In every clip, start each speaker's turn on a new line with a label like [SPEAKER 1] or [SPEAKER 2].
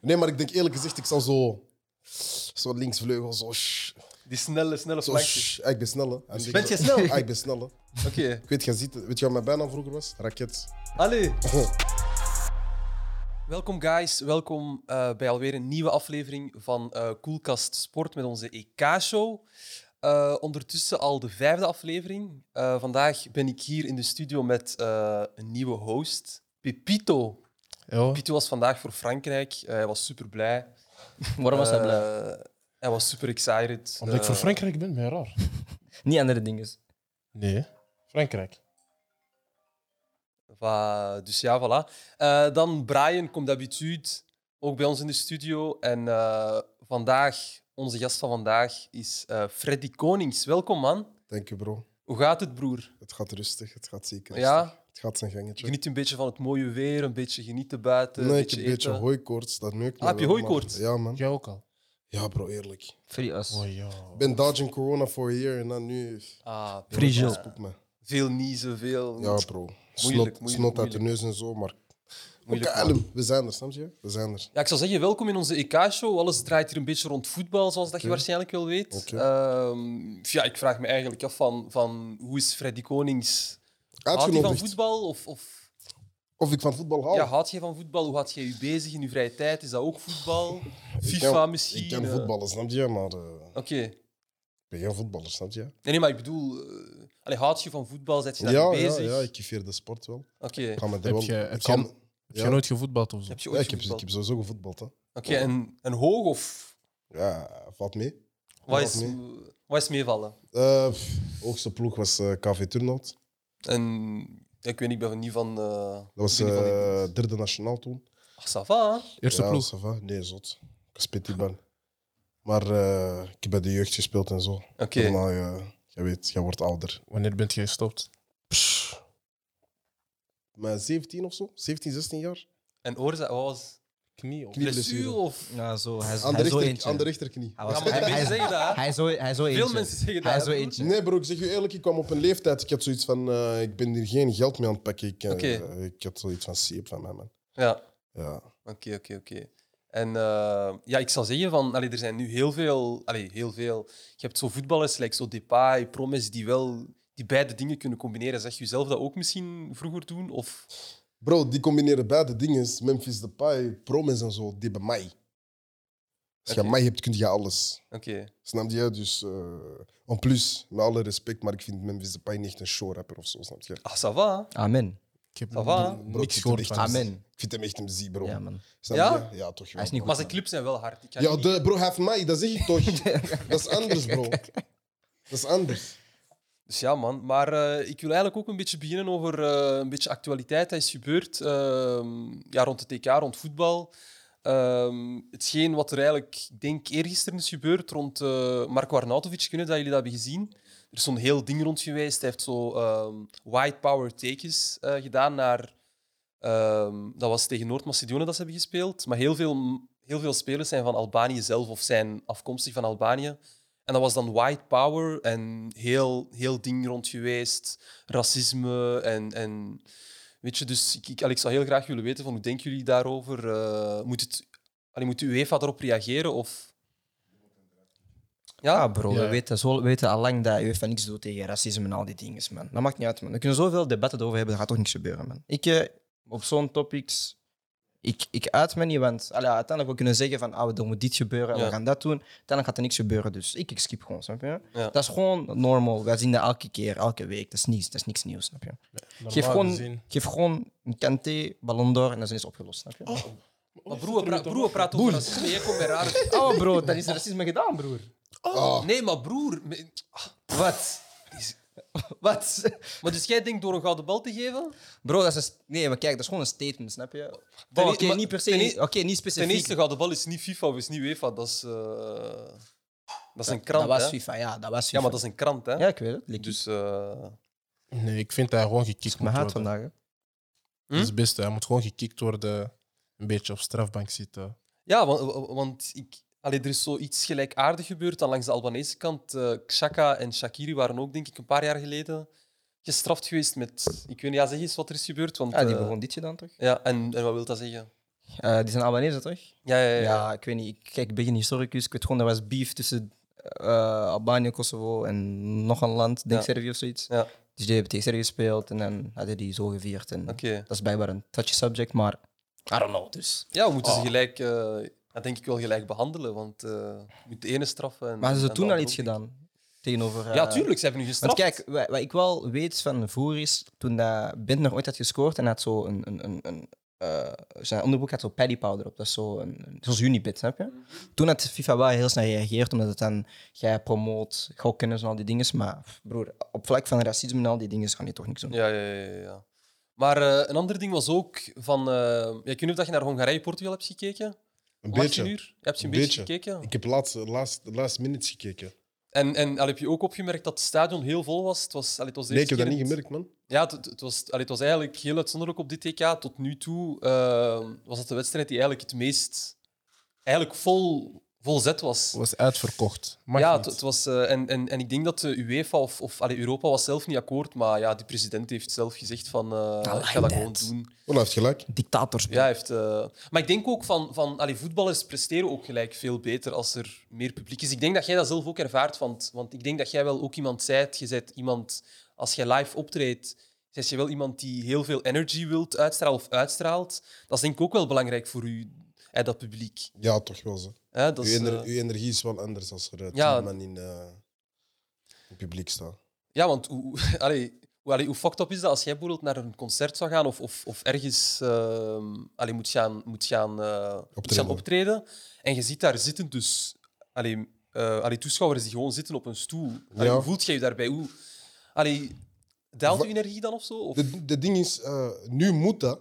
[SPEAKER 1] Nee, maar ik denk eerlijk gezegd, ik zou zo... Zo linksvleugel, zo... Shh,
[SPEAKER 2] Die snelle, snelle
[SPEAKER 1] zo
[SPEAKER 2] flankjes.
[SPEAKER 1] shh. Ah, ik ben snelle.
[SPEAKER 2] Ben je snel?
[SPEAKER 1] Ah, ik ben snelle.
[SPEAKER 2] Oké.
[SPEAKER 1] Ik weet, jij ziet, het. weet je wat mijn bijnaam vroeger was? Raket.
[SPEAKER 2] Allee. Welkom guys, welkom eh, bij alweer een nieuwe aflevering van eh Coolcast Sport met onze EK-show. Eh, ondertussen al de vijfde aflevering. Eh, vandaag ben ik hier in de studio met eh, een nieuwe host, Pepito.
[SPEAKER 3] Ja,
[SPEAKER 2] Pepito was vandaag voor Frankrijk, Eh, hij was super blij.
[SPEAKER 4] Waarom was hij blij?
[SPEAKER 2] Hij was super excited.
[SPEAKER 3] omdat ik voor
[SPEAKER 2] Eh,
[SPEAKER 3] Frankrijk ben, ben je raar.
[SPEAKER 4] Niet andere dingen.
[SPEAKER 3] Nee, Frankrijk.
[SPEAKER 2] Va- dus ja, voilà. Eh, dan Brian komt d'habitude ook bij ons in de studio. En eh, vandaag, onze gast van vandaag is eh, Freddy Konings. Welkom, man.
[SPEAKER 1] Dank je, bro.
[SPEAKER 2] Hoe gaat het, broer?
[SPEAKER 1] Het gaat rustig, het gaat zeker rustig.
[SPEAKER 2] Ja?
[SPEAKER 1] Het gaat zijn gangetje.
[SPEAKER 2] Geniet een beetje van het mooie weer, een beetje genieten buiten.
[SPEAKER 1] nee,
[SPEAKER 2] een
[SPEAKER 1] ik heb
[SPEAKER 2] beetje
[SPEAKER 1] een beetje
[SPEAKER 2] eten.
[SPEAKER 1] hooikoorts, dat neukt me
[SPEAKER 2] Ah, heb je
[SPEAKER 1] wel, maar-
[SPEAKER 2] hooikoorts?
[SPEAKER 1] Ja, man.
[SPEAKER 3] Jij ook al.
[SPEAKER 1] Ja, bro, eerlijk.
[SPEAKER 4] Free us.
[SPEAKER 3] Oh ja.
[SPEAKER 1] Ik ben dodging corona for a year en dan nu...
[SPEAKER 2] Ah,
[SPEAKER 4] Frigel.
[SPEAKER 1] Dat spoelt me.
[SPEAKER 2] veel niezen, veel...
[SPEAKER 1] Ja, bro.
[SPEAKER 2] Moeilijk,
[SPEAKER 1] Snot,
[SPEAKER 2] moeilijk,
[SPEAKER 1] snot uit de neus en zo, maar...
[SPEAKER 2] Moeilijk, Ah,
[SPEAKER 1] Oké, Adam, we zijn er, snap je? We zijn er.
[SPEAKER 2] Ja, ik zou zeggen, welkom in onze EK-show. Alles draait hier een beetje rond voetbal, zoals dat je
[SPEAKER 1] Oké.
[SPEAKER 2] waarschijnlijk wel weet.
[SPEAKER 1] Oké.
[SPEAKER 2] Ehm, ja, ik vraag me eigenlijk af van, van hoe is Freddy Konings... Houdt hij van
[SPEAKER 1] Uitgenodigd.
[SPEAKER 2] voetbal? Of, of
[SPEAKER 1] Of ik van voetbal hou?
[SPEAKER 2] ja, houdt jij van voetbal? Hoe houdt jij je bezig in je vrije tijd? Is dat ook voetbal?
[SPEAKER 1] Ik
[SPEAKER 2] FIFA
[SPEAKER 1] ken,
[SPEAKER 2] misschien?
[SPEAKER 1] Ik ken
[SPEAKER 2] eh.
[SPEAKER 1] voetballen, snap je? Maar eh,
[SPEAKER 2] Oké.
[SPEAKER 1] ik ben geen voetballer, snap je?
[SPEAKER 2] Nee, nee, maar ik bedoel... eh, allee, houd je van voetbal? Zet je
[SPEAKER 1] Ja,
[SPEAKER 2] daar
[SPEAKER 1] ja,
[SPEAKER 2] mee
[SPEAKER 1] ja,
[SPEAKER 2] bezig?
[SPEAKER 1] ik kiffeer de sport wel.
[SPEAKER 2] Oké.
[SPEAKER 1] Ik ga me daar
[SPEAKER 3] Heb
[SPEAKER 1] wel...
[SPEAKER 3] je-
[SPEAKER 1] ik
[SPEAKER 3] heb
[SPEAKER 1] ga
[SPEAKER 3] je-
[SPEAKER 1] me-
[SPEAKER 3] Heb je
[SPEAKER 1] Ja.
[SPEAKER 3] nooit gevoetbald of zo?
[SPEAKER 2] Heb je
[SPEAKER 1] Ja,
[SPEAKER 2] ooit
[SPEAKER 1] ik, heb, ik
[SPEAKER 2] gevoetbald?
[SPEAKER 1] heb sowieso gevoetbald, hè.
[SPEAKER 2] Oké, en, en hoog of...
[SPEAKER 1] Ja, valt mee.
[SPEAKER 2] Wat
[SPEAKER 1] Valt
[SPEAKER 2] is,
[SPEAKER 1] mee.
[SPEAKER 2] wat is meevallen?
[SPEAKER 1] Eh, pff, hoogste ploeg was eh, KV Turnhout.
[SPEAKER 2] En... ja, Ik weet niet, ik ben niet van... eh,
[SPEAKER 1] Dat was
[SPEAKER 2] ik ben niet van die-
[SPEAKER 1] eh, derde nationaal toen.
[SPEAKER 2] Ah, ça va, hè?
[SPEAKER 3] Eerste
[SPEAKER 1] ja,
[SPEAKER 3] ploeg.
[SPEAKER 1] ça va. Nee, zot. Ik spit die bal. Maar eh, ik heb bij de jeugd gespeeld en zo.
[SPEAKER 2] Oké.
[SPEAKER 1] Daarna, eh, jij weet, jij wordt ouder.
[SPEAKER 3] Wanneer bent jij gestopt?
[SPEAKER 1] Maar 17 of zo? 17, 16 jaar?
[SPEAKER 2] En oorzaak wat was...
[SPEAKER 3] Knie op.
[SPEAKER 2] Blessure
[SPEAKER 1] Knieblessure.
[SPEAKER 2] of...
[SPEAKER 4] Ja, zo. Hij is,
[SPEAKER 1] Aan de,
[SPEAKER 4] hij is zo
[SPEAKER 1] rechter,
[SPEAKER 4] eentje.
[SPEAKER 1] aan de rechterknie.
[SPEAKER 4] Hij
[SPEAKER 2] Ja,
[SPEAKER 4] was
[SPEAKER 2] maar die
[SPEAKER 4] hij,
[SPEAKER 2] mensen
[SPEAKER 4] hij,
[SPEAKER 2] zeggen dat, hè?
[SPEAKER 4] hij is zo, hij is zo eentje.
[SPEAKER 2] Veel mensen zeggen dat.
[SPEAKER 4] Hij
[SPEAKER 2] hè,
[SPEAKER 4] is zo
[SPEAKER 2] broer?
[SPEAKER 4] eentje.
[SPEAKER 1] Nee, bro, ik zeg je eerlijk, ik kwam op een leeftijd. Ik had zoiets van: eh, ik ben hier geen geld mee aan het pakken. Ik, eh,
[SPEAKER 2] Oké.
[SPEAKER 1] ik had zoiets van zeep van mij, man.
[SPEAKER 2] Ja.
[SPEAKER 1] Ja.
[SPEAKER 2] Oké, oké, oké. En eh, ja, ik zal zeggen van, allee, er zijn nu heel veel, allee, heel veel. Je hebt zo voetballers, like zo Depay, Promes, die wel die beide dingen kunnen combineren. Zeg je zelf dat ook misschien vroeger doen? Of
[SPEAKER 1] Bro, die combineren beide dingen. Memphis Depay, Promes en zo, die bij mij. Als je
[SPEAKER 2] Oké.
[SPEAKER 1] mij hebt, kun je alles.
[SPEAKER 2] oké,
[SPEAKER 1] Snap je? Dus, eh en plus, met alle respect, maar ik vind Memphis Depay niet echt een showrapper of zo, snap je?
[SPEAKER 2] ah, ça va.
[SPEAKER 4] Amen.
[SPEAKER 3] Ik heb
[SPEAKER 2] Ça va?
[SPEAKER 3] n-
[SPEAKER 1] Bro, ik
[SPEAKER 3] niks
[SPEAKER 1] vind
[SPEAKER 3] gehoord
[SPEAKER 1] het
[SPEAKER 3] van
[SPEAKER 1] echt-
[SPEAKER 3] hem.
[SPEAKER 4] Amen.
[SPEAKER 1] Ik vind hem echt een zie, bro.
[SPEAKER 4] Ja, man.
[SPEAKER 1] Snap
[SPEAKER 2] Ja?
[SPEAKER 1] je? Ja, toch wel.
[SPEAKER 4] Hij is niet
[SPEAKER 2] Maar zijn
[SPEAKER 4] goed,
[SPEAKER 2] clips zijn wel hard. Ik ga
[SPEAKER 1] Ja,
[SPEAKER 2] niet-
[SPEAKER 1] de, bro, hij heeft mij, dat zeg ik toch? dat is anders, bro. Dat is anders.
[SPEAKER 2] Dus ja, man. Maar eh, ik wil eigenlijk ook een beetje beginnen over eh, een beetje actualiteit. Dat is gebeurd ehm, ja, rond het TK, rond voetbal. Ehm, hetgeen wat er eigenlijk, ik denk, eergisteren is gebeurd rond eh, Marco Arnautovic. Kunnen dat jullie dat hebben gezien? Er is zo'n heel ding rond geweest. Hij heeft zo ehm, white power takes eh, gedaan naar... ehm, dat was tegen Noord-Macedonië dat ze hebben gespeeld. Maar heel veel, heel veel spelers zijn van Albanië zelf of zijn afkomstig van Albanië. En dat was dan white power en heel, heel ding rond geweest. Racisme en... en weet je, dus ik, ik, allee, ik zou heel graag willen weten, van, hoe denken jullie daarover? Eh, moet, het, allee, moet de UEFA daarop reageren? Of... Ja?
[SPEAKER 4] Ah, bro,
[SPEAKER 3] Ja.
[SPEAKER 4] we weten, zo, we weten allang dat UEFA niks doet tegen racisme en al die dingen, man. Dat maakt niet uit, man. Er kunnen zoveel debatten over hebben, er gaat toch niks gebeuren, man. Ik, eh, op zo'n topics, ik, ik uit me niet, want allee, uiteindelijk we kunnen zeggen van, ah, er moet dit gebeuren,
[SPEAKER 2] Ja.
[SPEAKER 4] we gaan dat doen. Uiteindelijk gaat er niks gebeuren, dus ik, ik skip gewoon, snap je?
[SPEAKER 2] Ja.
[SPEAKER 4] Dat is gewoon normaal. Wij zien dat elke keer, elke week. Dat is niets, dat is niks nieuws, snap je?
[SPEAKER 3] Normaal
[SPEAKER 4] Geef gewoon,
[SPEAKER 3] gezien-
[SPEAKER 4] geef gewoon een Kanté, Ballon d'Or en dan is het opgelost, snap je? Oh,
[SPEAKER 2] Maar broer, we pra- broer, we praten over racisme. Jij komt bij rare...
[SPEAKER 4] Oh, bro, dat is racisme gedaan, broer.
[SPEAKER 1] Ah.
[SPEAKER 2] Nee, maar broer... me- ah,
[SPEAKER 4] Wat? Wat?
[SPEAKER 2] Maar dus jij denkt door een gouden bal te geven?
[SPEAKER 4] Bro, dat is een st- nee, maar kijk, dat is gewoon een statement, snap je?
[SPEAKER 2] Ten-
[SPEAKER 4] Oké,
[SPEAKER 2] maar-
[SPEAKER 4] niet per
[SPEAKER 2] ten
[SPEAKER 4] se,
[SPEAKER 2] e-
[SPEAKER 4] oké, niet specifiek.
[SPEAKER 2] Ten eerste, gouden bal is niet FIFA of is niet UEFA. Dat is, eh, dat is een krant,
[SPEAKER 4] dat was
[SPEAKER 2] hè?
[SPEAKER 4] FIFA, ja, dat was FIFA.
[SPEAKER 2] Ja, maar dat is een krant, hè?
[SPEAKER 4] Ja, ik weet het. Lik-
[SPEAKER 2] Dus... eh,
[SPEAKER 3] Nee, ik vind dat hij gewoon gekikt moet
[SPEAKER 4] Mijn haat
[SPEAKER 3] worden.
[SPEAKER 4] vandaag. Hm? hè.
[SPEAKER 3] Dat is het beste. Hij moet gewoon gekikt worden. Een beetje op strafbank zitten.
[SPEAKER 2] Ja, wa- wa- want, ik, allee, er is zoiets gelijkaardig gebeurd dan langs de Albanese kant. eh Xhaka en Shakiri waren ook, denk ik, een paar jaar geleden gestraft geweest met... Ik weet niet, ja, zeg eens wat er is gebeurd. Want,
[SPEAKER 4] Ja, die
[SPEAKER 2] eh,
[SPEAKER 4] begon ditje dan toch?
[SPEAKER 2] ja, en, en wat wil dat zeggen?
[SPEAKER 4] Eh, die zijn Albanese, toch?
[SPEAKER 2] Ja, ja, ja.
[SPEAKER 4] Ja,
[SPEAKER 2] ja.
[SPEAKER 4] ik weet niet. Ik, kijk, ik ben geen historicus. Ik weet gewoon, er was beef tussen eh, Albanië, Kosovo en nog een land, denk
[SPEAKER 2] Ja.
[SPEAKER 4] Servië of zoiets.
[SPEAKER 2] Ja.
[SPEAKER 4] Dus die hebben tegen Servië gespeeld en dan hadden die zo gevierd. En
[SPEAKER 2] Oké.
[SPEAKER 4] Dat is blijkbaar een touchy subject, maar I don't know. Dus.
[SPEAKER 2] Ja, we moeten ze
[SPEAKER 4] Oh.
[SPEAKER 2] gelijk, eh, ja, denk ik wel gelijk behandelen, want eh, je moet de ene straffen. En,
[SPEAKER 4] Maar hadden
[SPEAKER 2] en
[SPEAKER 4] ze
[SPEAKER 2] de
[SPEAKER 4] toen al
[SPEAKER 2] andere
[SPEAKER 4] iets
[SPEAKER 2] ook.
[SPEAKER 4] gedaan tegenover... eh,
[SPEAKER 2] Ja, tuurlijk, ze hebben nu
[SPEAKER 4] Want
[SPEAKER 2] gestraft.
[SPEAKER 4] kijk, wat, wat ik wel weet van vroeger is, toen dat Bindner ooit had gescoord en hij had zo een... een, een, een eh, zijn onderbroek had zo paddy powder op, dat is zo een, een- zoals Unibit, snap je?
[SPEAKER 2] Mhm.
[SPEAKER 4] Toen had FIFA wel heel snel gereageerd, omdat het dan, jij promoot gokken en zo, al die dingen, maar pff, broer, op vlak van racisme en al die dingen gaan je toch niks doen.
[SPEAKER 2] Ja, ja, ja. ja, ja. Maar eh, een ander ding was ook van... eh, ja, ik weet niet of dat je naar Hongarije-Portugal hebt gekeken.
[SPEAKER 1] Een
[SPEAKER 2] Om 18
[SPEAKER 1] beetje.
[SPEAKER 2] uur? Je hebt je een
[SPEAKER 1] Een
[SPEAKER 2] beetje,
[SPEAKER 1] beetje.
[SPEAKER 2] gekeken.
[SPEAKER 1] Ik heb laatst, eh, laatst, laatst minutes gekeken.
[SPEAKER 2] En, en al heb je ook opgemerkt dat het stadion heel vol was? Het was, allee, het was de
[SPEAKER 1] Nee, ik
[SPEAKER 2] eerste
[SPEAKER 1] heb dat niet
[SPEAKER 2] keer het-
[SPEAKER 1] gemerkt, man.
[SPEAKER 2] Ja, het, het- het was, allee, het was eigenlijk heel uitzonderlijk op dit TK. Tot nu toe eh, was het de wedstrijd die eigenlijk het meest... Eigenlijk vol, vol zet was.
[SPEAKER 1] Oh,
[SPEAKER 3] Het was uitverkocht. Mag
[SPEAKER 2] ja,
[SPEAKER 3] niet.
[SPEAKER 2] het, het was, eh, en, en, en ik denk dat de UEFA of, of allee, Europa was zelf niet akkoord, maar ja, die president heeft zelf gezegd van eh,
[SPEAKER 4] I
[SPEAKER 2] ik
[SPEAKER 4] like
[SPEAKER 2] ga dat gewoon
[SPEAKER 4] that.
[SPEAKER 2] doen.
[SPEAKER 1] Oh, hij heeft gelijk.
[SPEAKER 4] Dictators.
[SPEAKER 2] Ja, hij heeft, eh, maar ik denk ook van, van allee, voetballers presteren ook gelijk veel beter als er meer publiek is. Ik denk dat jij dat zelf ook ervaart, want, want ik denk dat jij wel ook iemand zijt. Je bent iemand, als jij live optreedt, zijt je wel iemand die heel veel energy wilt uitstralen of uitstraalt. Dat is denk ik ook wel belangrijk voor u, hè, dat publiek.
[SPEAKER 1] Ja, toch wel. Zo.
[SPEAKER 2] Hè, dat
[SPEAKER 1] uw,
[SPEAKER 2] is,
[SPEAKER 1] ener-
[SPEAKER 2] eh,
[SPEAKER 1] uw energie is wel anders als er eh, tien
[SPEAKER 2] Ja.
[SPEAKER 1] man in eh, het publiek staat.
[SPEAKER 2] Ja, want hoe, hoe- allee, hoe, allee, hoe fucked up is dat als jij bijvoorbeeld naar een concert zou gaan of, of, of ergens ehm, allee, moet gaan, moet gaan, eh, moet gaan
[SPEAKER 1] Optreden.
[SPEAKER 2] optreden en je ziet daar zitten dus allee, eh, allee, toeschouwers die gewoon zitten op een stoel. Allee,
[SPEAKER 1] Ja.
[SPEAKER 2] Hoe voelt jij je daarbij? Hoe, allee, daalt
[SPEAKER 1] Va-
[SPEAKER 2] je energie dan of zo? Of,
[SPEAKER 1] De, de ding is, eh, nu moet dat.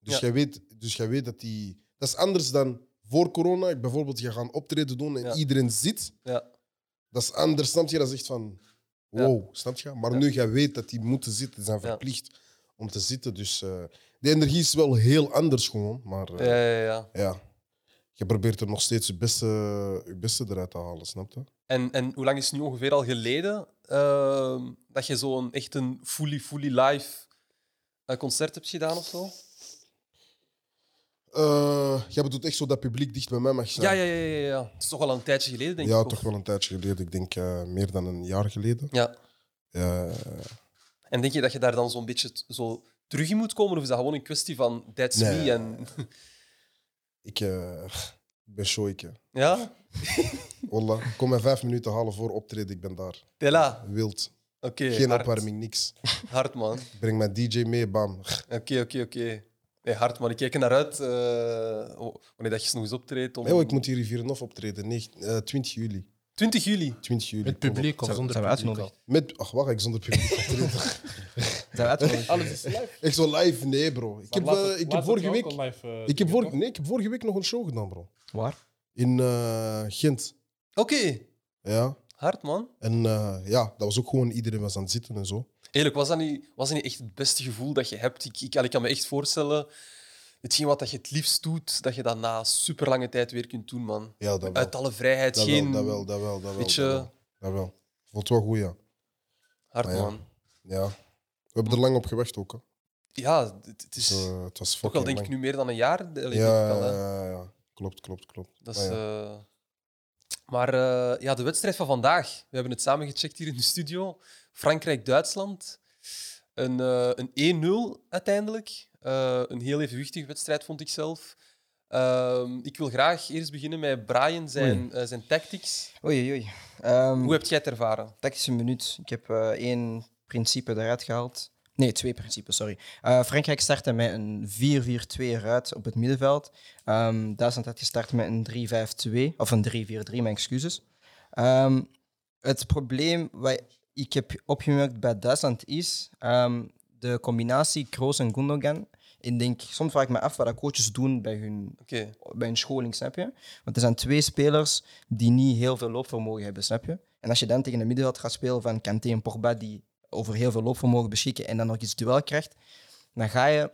[SPEAKER 1] Dus,
[SPEAKER 2] Ja.
[SPEAKER 1] jij weet, dus jij weet dat die... Dat is anders dan voor corona. Ik Bijvoorbeeld, je gaat optreden doen en
[SPEAKER 2] Ja.
[SPEAKER 1] iedereen zit.
[SPEAKER 2] ja,
[SPEAKER 1] Dat is anders, snap je? Dat is echt van...
[SPEAKER 2] Ja.
[SPEAKER 1] Wow, snap je? Maar
[SPEAKER 2] Ja.
[SPEAKER 1] nu, jij weet dat die moeten zitten. Ze zijn
[SPEAKER 2] Ja.
[SPEAKER 1] verplicht om te zitten. Dus eh, de energie is wel heel anders gewoon. Maar eh,
[SPEAKER 2] ja, ja, ja.
[SPEAKER 1] ja, je probeert er nog steeds je beste, je beste eruit te halen, snap je?
[SPEAKER 2] En, en hoe lang is het nu ongeveer al geleden ehm, dat je zo'n echt een fully, fully live eh, concert hebt gedaan of zo?
[SPEAKER 1] Eh, jij bedoelt echt zo dat publiek dicht bij mij mag zijn?
[SPEAKER 2] Ja, ja, ja, ja, ja. Het is toch al een tijdje geleden, denk
[SPEAKER 1] Ja,
[SPEAKER 2] ik. of-
[SPEAKER 1] toch wel een tijdje geleden. Ik denk eh, meer dan een jaar geleden.
[SPEAKER 2] Ja.
[SPEAKER 1] Eh,
[SPEAKER 2] En denk je dat je daar dan zo'n beetje t- zo terug in moet komen? Of is dat gewoon een kwestie van that's
[SPEAKER 1] Nee.
[SPEAKER 2] me? En...
[SPEAKER 1] ik eh, ik ben showike.
[SPEAKER 2] Ja?
[SPEAKER 1] Wallah, ik kom mij vijf minuten halen voor optreden. Ik ben daar.
[SPEAKER 2] Tela.
[SPEAKER 1] Wild.
[SPEAKER 2] Oké.
[SPEAKER 1] Geen
[SPEAKER 2] hard.
[SPEAKER 1] opwarming, niks.
[SPEAKER 2] Hard, man.
[SPEAKER 1] Ik breng mijn DJ mee, bam.
[SPEAKER 2] Oké, oké, oké. Nee, hard, man. Ik kijk er naar uit eh, oh, wanneer dat je eens nog eens optreedt. Om...
[SPEAKER 1] Hey, oh, ik moet hier in Vierenhof optreden. Nee, eh, 20 juli.
[SPEAKER 2] 20 juli.
[SPEAKER 1] 20 juli.
[SPEAKER 3] Met publiek of
[SPEAKER 4] Zijn-
[SPEAKER 3] zonder
[SPEAKER 4] zijn we
[SPEAKER 3] publiek
[SPEAKER 4] uitgenodigd?
[SPEAKER 1] Kom op. Met, ach, wacht, ik zonder publiek optreden.
[SPEAKER 4] Zijn we uitgenodigd?
[SPEAKER 1] Echt zo live? Nee, bro. Ik heb, eh, ik heb vorige week...
[SPEAKER 3] eh,
[SPEAKER 1] Ik heb, vorige, nee, ik heb vorige week nog een show gedaan, bro.
[SPEAKER 4] Waar?
[SPEAKER 1] In eh, Gent.
[SPEAKER 2] Oké.
[SPEAKER 1] Ja.
[SPEAKER 2] Hard, man.
[SPEAKER 1] En eh, ja, dat was ook gewoon iedereen was aan het zitten en zo.
[SPEAKER 2] Eerlijk, was dat, niet, was dat niet echt het beste gevoel dat je hebt? Ik, ik, ik kan me echt voorstellen, hetgeen wat dat je het liefst doet, dat je dat na super lange tijd weer kunt doen, man.
[SPEAKER 1] Ja, dat wel.
[SPEAKER 2] Uit alle vrijheid,
[SPEAKER 1] dat,
[SPEAKER 2] geen...
[SPEAKER 1] wel, dat wel, dat wel, dat wel.
[SPEAKER 2] Beetje-
[SPEAKER 1] Dat wel. Dat wel. Vond wel goed, ja.
[SPEAKER 2] Hard,
[SPEAKER 1] Maar ja.
[SPEAKER 2] man.
[SPEAKER 1] ja. We hebben er lang op gewacht ook. Hè.
[SPEAKER 2] Ja, het, het is...
[SPEAKER 1] Dus, eh, het was
[SPEAKER 2] Ook al
[SPEAKER 1] fucking
[SPEAKER 2] denk ik
[SPEAKER 1] lang.
[SPEAKER 2] nu meer dan een jaar. de- denk
[SPEAKER 1] Ja,
[SPEAKER 2] ik wel, hè.
[SPEAKER 1] ja, Ah, ja, ja. Klopt, klopt, klopt.
[SPEAKER 2] Dat
[SPEAKER 1] Maar
[SPEAKER 2] is, eh, maar eh, ja, de wedstrijd van vandaag. We hebben het samen gecheckt hier in de studio. Frankrijk-Duitsland. Een, eh, een 1-0 uiteindelijk. Eh, een heel evenwichtige wedstrijd, vond ik zelf. Ehm, ik wil graag eerst beginnen met Brian, zijn, eh, zijn tactics.
[SPEAKER 4] Oei, oei, oei. Ehm,
[SPEAKER 2] Hoe heb jij het ervaren?
[SPEAKER 4] tactische minuut. Ik heb eh, één principe eruit gehaald. Nee, twee principes, sorry. Eh, Frankrijk startte met een 4-4-2 eruit op het middenveld. Ehm, Duitsland had gestart met een 3-5-2, of een 3-4-3, mijn excuses. Ehm, het probleem wat ik heb opgemerkt bij Duitsland is ehm, de combinatie Kroos en Gundogan. Ik denk, soms vraag ik me af wat dat coaches doen bij hun
[SPEAKER 2] Oké.
[SPEAKER 4] bij een scholing, snap je? Want er zijn twee spelers die niet heel veel loopvermogen hebben, snap je? En als je dan tegen een middenveld gaat spelen van Kanté en Pogba, die over heel veel loopvermogen beschikken en dan nog iets duel krijgt, dan ga je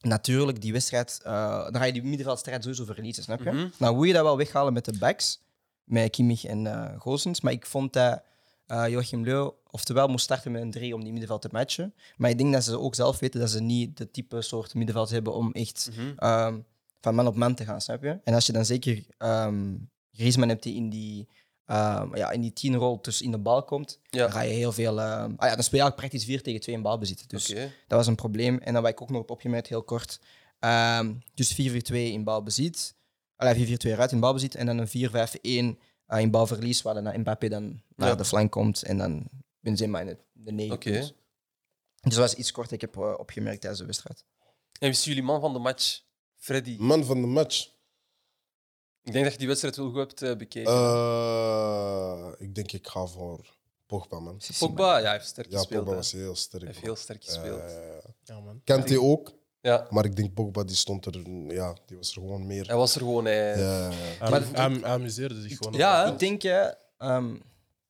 [SPEAKER 4] natuurlijk die wedstrijd, eh, dan ga je die middenveldstrijd sowieso verliezen, snap je?
[SPEAKER 2] Mhm.
[SPEAKER 4] Nou, moet je dat wel weghalen met de backs, met Kimmich en eh Gozens, maar ik vond dat eh, Joachim Leu oftewel moest starten met een 3 om die middenveld te matchen. Maar ik denk dat ze ook zelf weten dat ze niet de type soort middenveld hebben om echt
[SPEAKER 2] Mhm.
[SPEAKER 4] ehm, van man op man te gaan, snap je? En als je dan zeker ehm Griezmann hebt die in die, ehm ja, in die tienrol dus in de bal komt,
[SPEAKER 2] Ja.
[SPEAKER 4] dan ga je heel veel... ehm, ah ja, dan speel je eigenlijk praktisch 4 tegen 2 in balbezit. Dus
[SPEAKER 2] Oké.
[SPEAKER 4] dat was een probleem. En dan wat ik ook nog op opgemerkt, heel kort. Ehm, dus 4-4-2 in balbezit. Allee, 4-4-2 eruit in balbezit. En dan een 4-5-1 eh, in balverlies, waar dan Mbappé dan naar
[SPEAKER 2] Ja.
[SPEAKER 4] de flank komt. En dan Benzema in het- de 9
[SPEAKER 2] Oké.
[SPEAKER 4] Dus dat was iets kort dat ik heb eh, opgemerkt tijdens de wedstrijd.
[SPEAKER 2] En wie is jullie man van de match? Freddy.
[SPEAKER 1] Man van de match.
[SPEAKER 2] Ik denk dat je die wedstrijd wel goed hebt eh, bekeken.
[SPEAKER 1] Eh, ik denk ik ga voor Pogba, man.
[SPEAKER 2] Pogba, ja, hij heeft sterk
[SPEAKER 1] Ja,
[SPEAKER 2] gespeeld.
[SPEAKER 1] Pogba
[SPEAKER 2] hè.
[SPEAKER 1] was heel
[SPEAKER 2] Hij
[SPEAKER 1] sterk.
[SPEAKER 2] heeft heel sterk gespeeld.
[SPEAKER 1] Eh,
[SPEAKER 3] Ja, man.
[SPEAKER 1] Kante ook,
[SPEAKER 2] ja,
[SPEAKER 1] maar ik denk Pogba die stond er, mm, ja, die was er gewoon meer.
[SPEAKER 2] hij was er gewoon. Hij,
[SPEAKER 1] Ja,
[SPEAKER 3] Hij
[SPEAKER 2] Maar-
[SPEAKER 3] am- amuseerde zich gewoon. op
[SPEAKER 2] Ja,
[SPEAKER 3] dat
[SPEAKER 2] hè?
[SPEAKER 3] veld.
[SPEAKER 4] Ik denk, hè, ehm,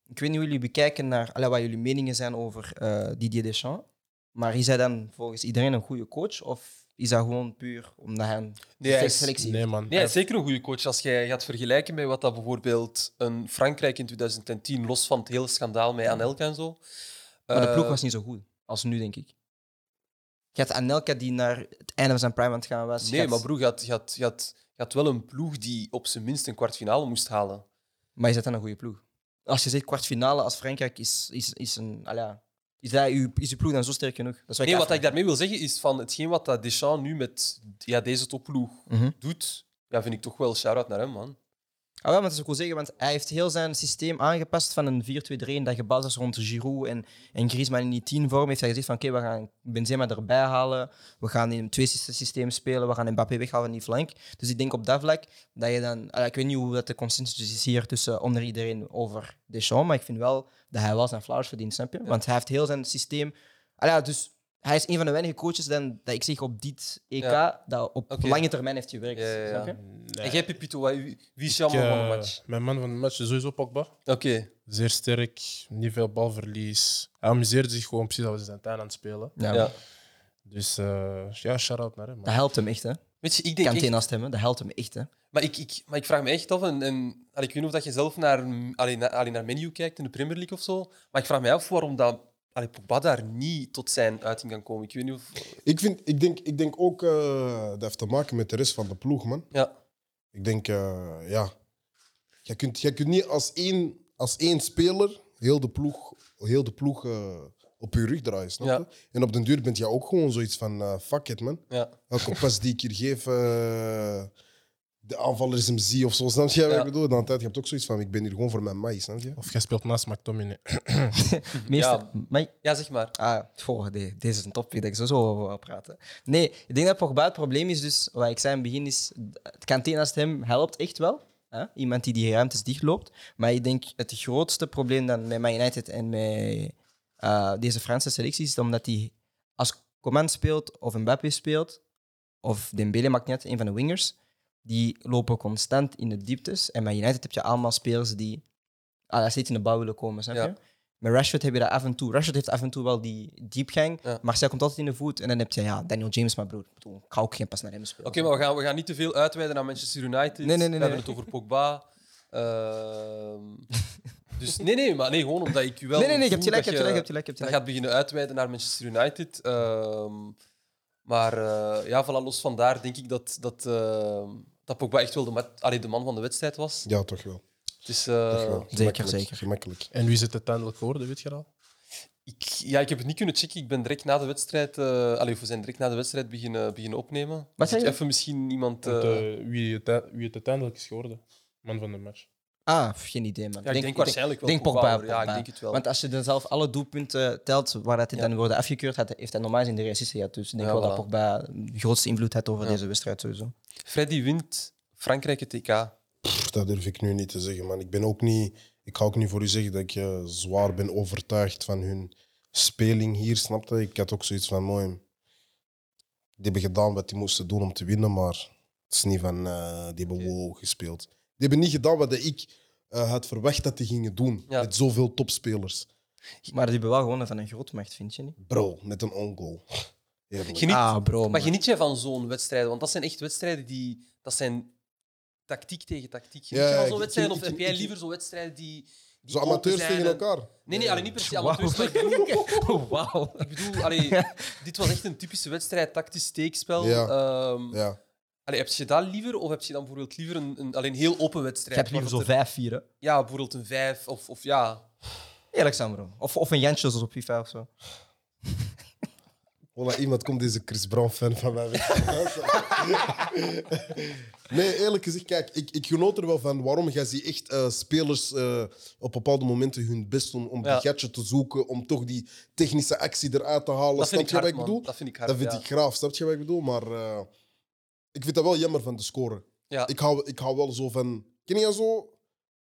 [SPEAKER 4] ik weet niet hoe jullie bekijken naar allee, wat jullie meningen zijn over eh, Didier Deschamps. Maar is hij dan volgens iedereen een goede coach? Of is dat gewoon puur omdat hij een
[SPEAKER 2] Nee, hij is-
[SPEAKER 4] selectie
[SPEAKER 3] Nee, man.
[SPEAKER 2] Nee, hij is zeker een goede coach. Als jij gaat vergelijken met wat dat bijvoorbeeld een Frankrijk in 2010, los van het hele schandaal met Anelka en zo.
[SPEAKER 4] Maar de ploeg
[SPEAKER 2] eh,
[SPEAKER 4] was niet zo goed als nu, denk ik. Je had Anelka die naar het einde van zijn prime aan het gaan was. Je
[SPEAKER 2] Nee,
[SPEAKER 4] had-
[SPEAKER 2] maar broer, je had, je had- je had- je had wel een ploeg die op zijn minst een kwartfinale moest halen.
[SPEAKER 4] Maar is dat dan een goede ploeg? Als je zegt kwartfinale als Frankrijk is, is, is een... ah ja, is, dat uw, is uw ploeg dan zo sterk genoeg? Dat is wat
[SPEAKER 2] Nee, wat ik
[SPEAKER 4] afvraag.
[SPEAKER 2] daarmee wil zeggen is van hetgeen wat dat Deschamps nu met ja, deze topploeg
[SPEAKER 4] Mhm.
[SPEAKER 2] doet, ja, vind ik toch wel shout-out naar hem, man.
[SPEAKER 4] Ah, wel, maar dat is ook wel zeggen, want hij heeft heel zijn systeem aangepast van een 4-2-3 dat gebaseerd was rond Giroud en, en Griezmann in die 10 vorm. Heeft hij gezegd van oké, we gaan Benzema erbij halen, we gaan in een twee-systeem spelen, we gaan Mbappé weghalen in die flank. Dus ik denk op dat vlak dat je dan... ah, ik weet niet hoe dat de consensus is hier tussen onder iedereen over Deschamps, maar ik vind wel dat hij wel zijn flowers verdient, snap je? Want hij heeft heel zijn systeem... Ah, ja, dus hij is een van de weinige coaches dan, dat ik zeg op dit EK
[SPEAKER 2] Ja.
[SPEAKER 4] dat op
[SPEAKER 2] Oké.
[SPEAKER 4] lange termijn heeft gewerkt,
[SPEAKER 2] Ja, ja, ja.
[SPEAKER 4] snap je?
[SPEAKER 3] Nee.
[SPEAKER 2] En jij, Pepito, wat- wie wie is jouw
[SPEAKER 3] Ik,
[SPEAKER 2] man van de
[SPEAKER 3] eh,
[SPEAKER 2] match?
[SPEAKER 3] Mijn man van de match is sowieso Pogba.
[SPEAKER 2] Oké,
[SPEAKER 3] Zeer sterk, niet veel balverlies. Hij amuseerde zich gewoon precies als hij zijn tuin aan het spelen.
[SPEAKER 4] Ja.
[SPEAKER 2] ja.
[SPEAKER 3] Dus eh, ja, shout-out naar hem.
[SPEAKER 4] Dat
[SPEAKER 3] Man.
[SPEAKER 4] helpt hem echt, hè?
[SPEAKER 2] Weet je, ik denk
[SPEAKER 4] kan
[SPEAKER 2] echt-
[SPEAKER 4] tegen stemmen, dat helpt hem echt. Hè.
[SPEAKER 2] Maar ik, ik, maar ik vraag me echt af, en, en allee, ik weet niet of dat je zelf naar, allee, na- allee, naar menu kijkt in de Premier League of zo, maar ik vraag me af waarom dat, allee, Pogba daar niet tot zijn uiting kan komen. Ik weet niet of...
[SPEAKER 1] Ik, vind, ik, denk, ik denk ook eh, dat heeft te maken met de rest van de ploeg, man.
[SPEAKER 2] Ja,
[SPEAKER 1] Ik denk, eh, ja. Je kunt, je kunt niet als één, als één speler heel de ploeg, heel de ploeg eh, op je rug draaien. Snap je?
[SPEAKER 2] Ja.
[SPEAKER 1] En op den duur bent je ook gewoon zoiets van: eh, fuck it, man.
[SPEAKER 2] ja.
[SPEAKER 1] Elke pas die ik hier geef, eh, de aanvaller is hem zie of zo. Snap je wat
[SPEAKER 2] Ja.
[SPEAKER 1] ik bedoel? Dan tijd, je hebt ook zoiets van: ik ben hier gewoon voor mijn maïs. Snap je?
[SPEAKER 3] Of jij speelt naast McTominay.
[SPEAKER 4] Meester,
[SPEAKER 2] Ja.
[SPEAKER 4] maar,
[SPEAKER 2] ja, zeg maar.
[SPEAKER 4] ah, goh, nee, deze is een topic dat ik sowieso over wil praten. Nee, ik denk dat Pogba het probleem is, dus wat ik zei in het begin, is het kantee naast hem helpt echt wel. Hè? Iemand die die ruimtes dichtloopt. Maar ik denk het grootste probleem dan met Man United en met eh, deze Franse selecties, is omdat hij als Coman speelt of Mbappé speelt, of Dembele maakt niet uit, een van de wingers, die lopen constant in de dieptes. En bij United heb je allemaal spelers die ah, steeds in de bouw willen komen, snap
[SPEAKER 2] Ja.
[SPEAKER 4] je? Met Rashford heb je dat af en toe. Rashford heeft af en toe wel die diepgang,
[SPEAKER 2] Ja.
[SPEAKER 4] maar zij komt altijd in de voet. En dan heb je ja, Daniel James, maar broer, ik bedoel, ik ga ook geen pas naar hem spelen.
[SPEAKER 2] Oké, maar we gaan, we gaan niet te veel uitweiden naar Manchester United.
[SPEAKER 4] Nee, nee, nee,
[SPEAKER 2] We
[SPEAKER 4] nee.
[SPEAKER 2] hebben het over Pogba. Ehm, dus nee, nee, maar nee, gewoon omdat ik u wel...
[SPEAKER 4] nee, nee, nee, je
[SPEAKER 2] voel
[SPEAKER 4] hebt gelijk, je
[SPEAKER 2] dat
[SPEAKER 4] hebt gelijk, je hebt gelijk. Je hebt
[SPEAKER 2] Dat
[SPEAKER 4] gelijk.
[SPEAKER 2] gaat beginnen uitweiden naar Manchester United. Ehm, maar eh, ja, voilà, los van daar denk ik dat, dat, eh, dat Pogba echt wel de, ma- allee, de man van de wedstrijd was.
[SPEAKER 1] Ja, toch wel.
[SPEAKER 2] Het is,
[SPEAKER 1] Toch
[SPEAKER 2] eh,
[SPEAKER 1] wel. Gemakkelijk,
[SPEAKER 4] zeker.
[SPEAKER 1] Gemakkelijk.
[SPEAKER 3] En wie zit uiteindelijk geworden, weet je dat al?
[SPEAKER 2] ik, ja, ik heb het niet kunnen checken. Ik ben direct na de wedstrijd... eh allee, of we zijn direct na de wedstrijd beginnen, beginnen opnemen. Dus
[SPEAKER 4] zei
[SPEAKER 2] ik
[SPEAKER 4] je?
[SPEAKER 2] Even misschien iemand...
[SPEAKER 3] Want,
[SPEAKER 2] eh,
[SPEAKER 3] eh, wie, het, uite- wie het uiteindelijk is geworden. Man van de match.
[SPEAKER 4] Ah, pff, geen idee, man.
[SPEAKER 2] ja, ik denk, waarschijnlijk wel
[SPEAKER 4] denk
[SPEAKER 2] Pogba.
[SPEAKER 4] Pogba,
[SPEAKER 2] hoor. Ja, ik
[SPEAKER 4] Pogba.
[SPEAKER 2] denk het wel.
[SPEAKER 4] Want als je dan zelf alle doelpunten telt waar dat hij
[SPEAKER 2] Ja.
[SPEAKER 4] dan wordt afgekeurd, had- heeft hij normaal zijn de assisten gehad. Dus ik denk
[SPEAKER 2] Ja,
[SPEAKER 4] wel
[SPEAKER 2] voilà.
[SPEAKER 4] dat Pogba de grootste invloed had over
[SPEAKER 2] Ja.
[SPEAKER 4] deze wedstrijd sowieso.
[SPEAKER 2] Freddy wint Frankrijk het TK.
[SPEAKER 1] Pff, Dat durf ik nu niet te zeggen, man. Ik ben ook niet... Ik ga ook niet voor u zeggen dat ik eh, zwaar ben overtuigd van hun speling hier, snapte? Ik had ook zoiets van, mooi. Die hebben gedaan wat die moesten doen om te winnen, maar het is niet van... eh, die hebben wow gespeeld. Die hebben niet gedaan wat ik eh, had verwacht dat die gingen doen.
[SPEAKER 2] Ja.
[SPEAKER 1] Met zoveel topspelers.
[SPEAKER 4] Maar die hebben wel gewonnen van een grootmacht, vind je niet?
[SPEAKER 1] Bro, met een ongoal. Eerlijk.
[SPEAKER 2] Geniet,
[SPEAKER 4] ah, bro.
[SPEAKER 2] maar
[SPEAKER 4] man.
[SPEAKER 2] geniet jij van zo'n wedstrijden? Want dat zijn echt wedstrijden die... Dat zijn tactiek tegen tactiek. Geniet
[SPEAKER 1] Ja,
[SPEAKER 2] je van
[SPEAKER 1] ik-
[SPEAKER 2] zo'n
[SPEAKER 1] ik-
[SPEAKER 2] wedstrijden? Of
[SPEAKER 1] ik-
[SPEAKER 2] heb
[SPEAKER 1] ik-
[SPEAKER 2] jij
[SPEAKER 1] ik-
[SPEAKER 2] liever zo'n wedstrijden die... die
[SPEAKER 1] Zo
[SPEAKER 2] open
[SPEAKER 1] amateurs
[SPEAKER 2] zijn
[SPEAKER 1] tegen
[SPEAKER 2] en-
[SPEAKER 1] elkaar.
[SPEAKER 2] Nee, nee, alleen niet per se
[SPEAKER 4] Wauw.
[SPEAKER 2] amateurs. Maar ik bedoel,
[SPEAKER 4] Wauw.
[SPEAKER 2] ik bedoel allee, dit was echt een typische wedstrijd, tactisch steekspel.
[SPEAKER 1] Ja.
[SPEAKER 2] Ehm,
[SPEAKER 1] Ja.
[SPEAKER 2] Allee, heb je dat liever of heb je dan bijvoorbeeld liever een, een alleen heel open
[SPEAKER 4] Je
[SPEAKER 2] wedstrijd?
[SPEAKER 4] hebt liever zo
[SPEAKER 2] waarop er-
[SPEAKER 4] vijf vieren.
[SPEAKER 2] Ja, bijvoorbeeld een vijf of, of ja.
[SPEAKER 4] Eerlijk zijn, bro. Of, of een Jantje zoals op FIFA of zo.
[SPEAKER 1] Voilà, iemand komt deze Chris Brown-fan van mij weg. nee, eerlijk gezegd, kijk, ik, ik genoot er wel van. Waarom? Jij ziet echt eh, spelers eh, op bepaalde momenten hun best doen om
[SPEAKER 2] Ja.
[SPEAKER 1] die gadget te zoeken, om toch die technische actie eruit te halen.
[SPEAKER 2] Dat vind
[SPEAKER 1] Snap
[SPEAKER 2] ik
[SPEAKER 1] je wat
[SPEAKER 2] hard,
[SPEAKER 1] ik bedoel?
[SPEAKER 2] man. Dat vind ik hard.
[SPEAKER 1] Dat vind
[SPEAKER 2] ja.
[SPEAKER 1] ik graaf, snap je wat ik bedoel? Maar eh, ik vind dat wel jammer van de score.
[SPEAKER 2] Ja.
[SPEAKER 1] Ik, hou, ik hou wel zo van... Ken je zo...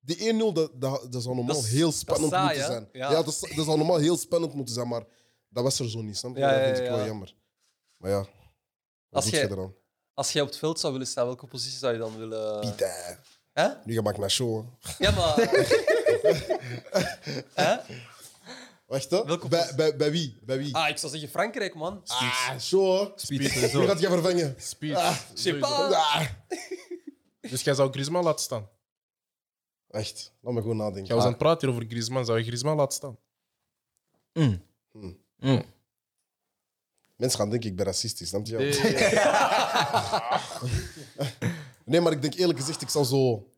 [SPEAKER 1] Die 1-0, dat, dat, dat zou normaal
[SPEAKER 2] Dat is-
[SPEAKER 1] heel
[SPEAKER 2] dat is
[SPEAKER 1] spannend
[SPEAKER 2] saai,
[SPEAKER 1] moeten
[SPEAKER 2] hè?
[SPEAKER 1] zijn.
[SPEAKER 2] Ja.
[SPEAKER 1] Ja, dat, is- dat zou normaal heel spannend moeten zijn, maar dat was er zo niet, snap je?
[SPEAKER 2] Ja,
[SPEAKER 1] dat
[SPEAKER 2] ja,
[SPEAKER 1] vind ik
[SPEAKER 2] ja,
[SPEAKER 1] wel
[SPEAKER 2] ja.
[SPEAKER 1] jammer. Maar ja,
[SPEAKER 2] Als
[SPEAKER 1] wat doet je
[SPEAKER 2] jij-
[SPEAKER 1] eraan?
[SPEAKER 2] Als jij op het veld zou willen staan, welke positie zou je dan willen.
[SPEAKER 1] Pieter,
[SPEAKER 2] Hè?
[SPEAKER 1] nu ga ik naar show. hè.
[SPEAKER 2] Ja, maar. Hè?
[SPEAKER 1] Wacht, hè?
[SPEAKER 2] Welke
[SPEAKER 1] Bij,
[SPEAKER 2] pos-
[SPEAKER 1] bij, bij wie? Bij wie?
[SPEAKER 2] Ah, ik zou zeggen Frankrijk, man.
[SPEAKER 1] Ah, show, hè?
[SPEAKER 3] Speed.
[SPEAKER 1] Wie gaat je vervangen?
[SPEAKER 3] Speed.
[SPEAKER 2] sais
[SPEAKER 3] Sowieso.
[SPEAKER 2] pas.
[SPEAKER 1] Ah,
[SPEAKER 3] Dus jij zou Griezmann laten staan?
[SPEAKER 1] echt, laat me gewoon
[SPEAKER 3] Jij
[SPEAKER 1] nadenken.
[SPEAKER 3] was aan
[SPEAKER 1] Ah,
[SPEAKER 3] het praten hier over Griezmann. Zou je Griezmann laten staan?
[SPEAKER 4] Mm.
[SPEAKER 1] Mm.
[SPEAKER 4] Mm.
[SPEAKER 1] mensen gaan denken ik ben racistisch, snap je?
[SPEAKER 3] Nee.
[SPEAKER 1] Nee, maar ik denk eerlijk gezegd, ik zou zo...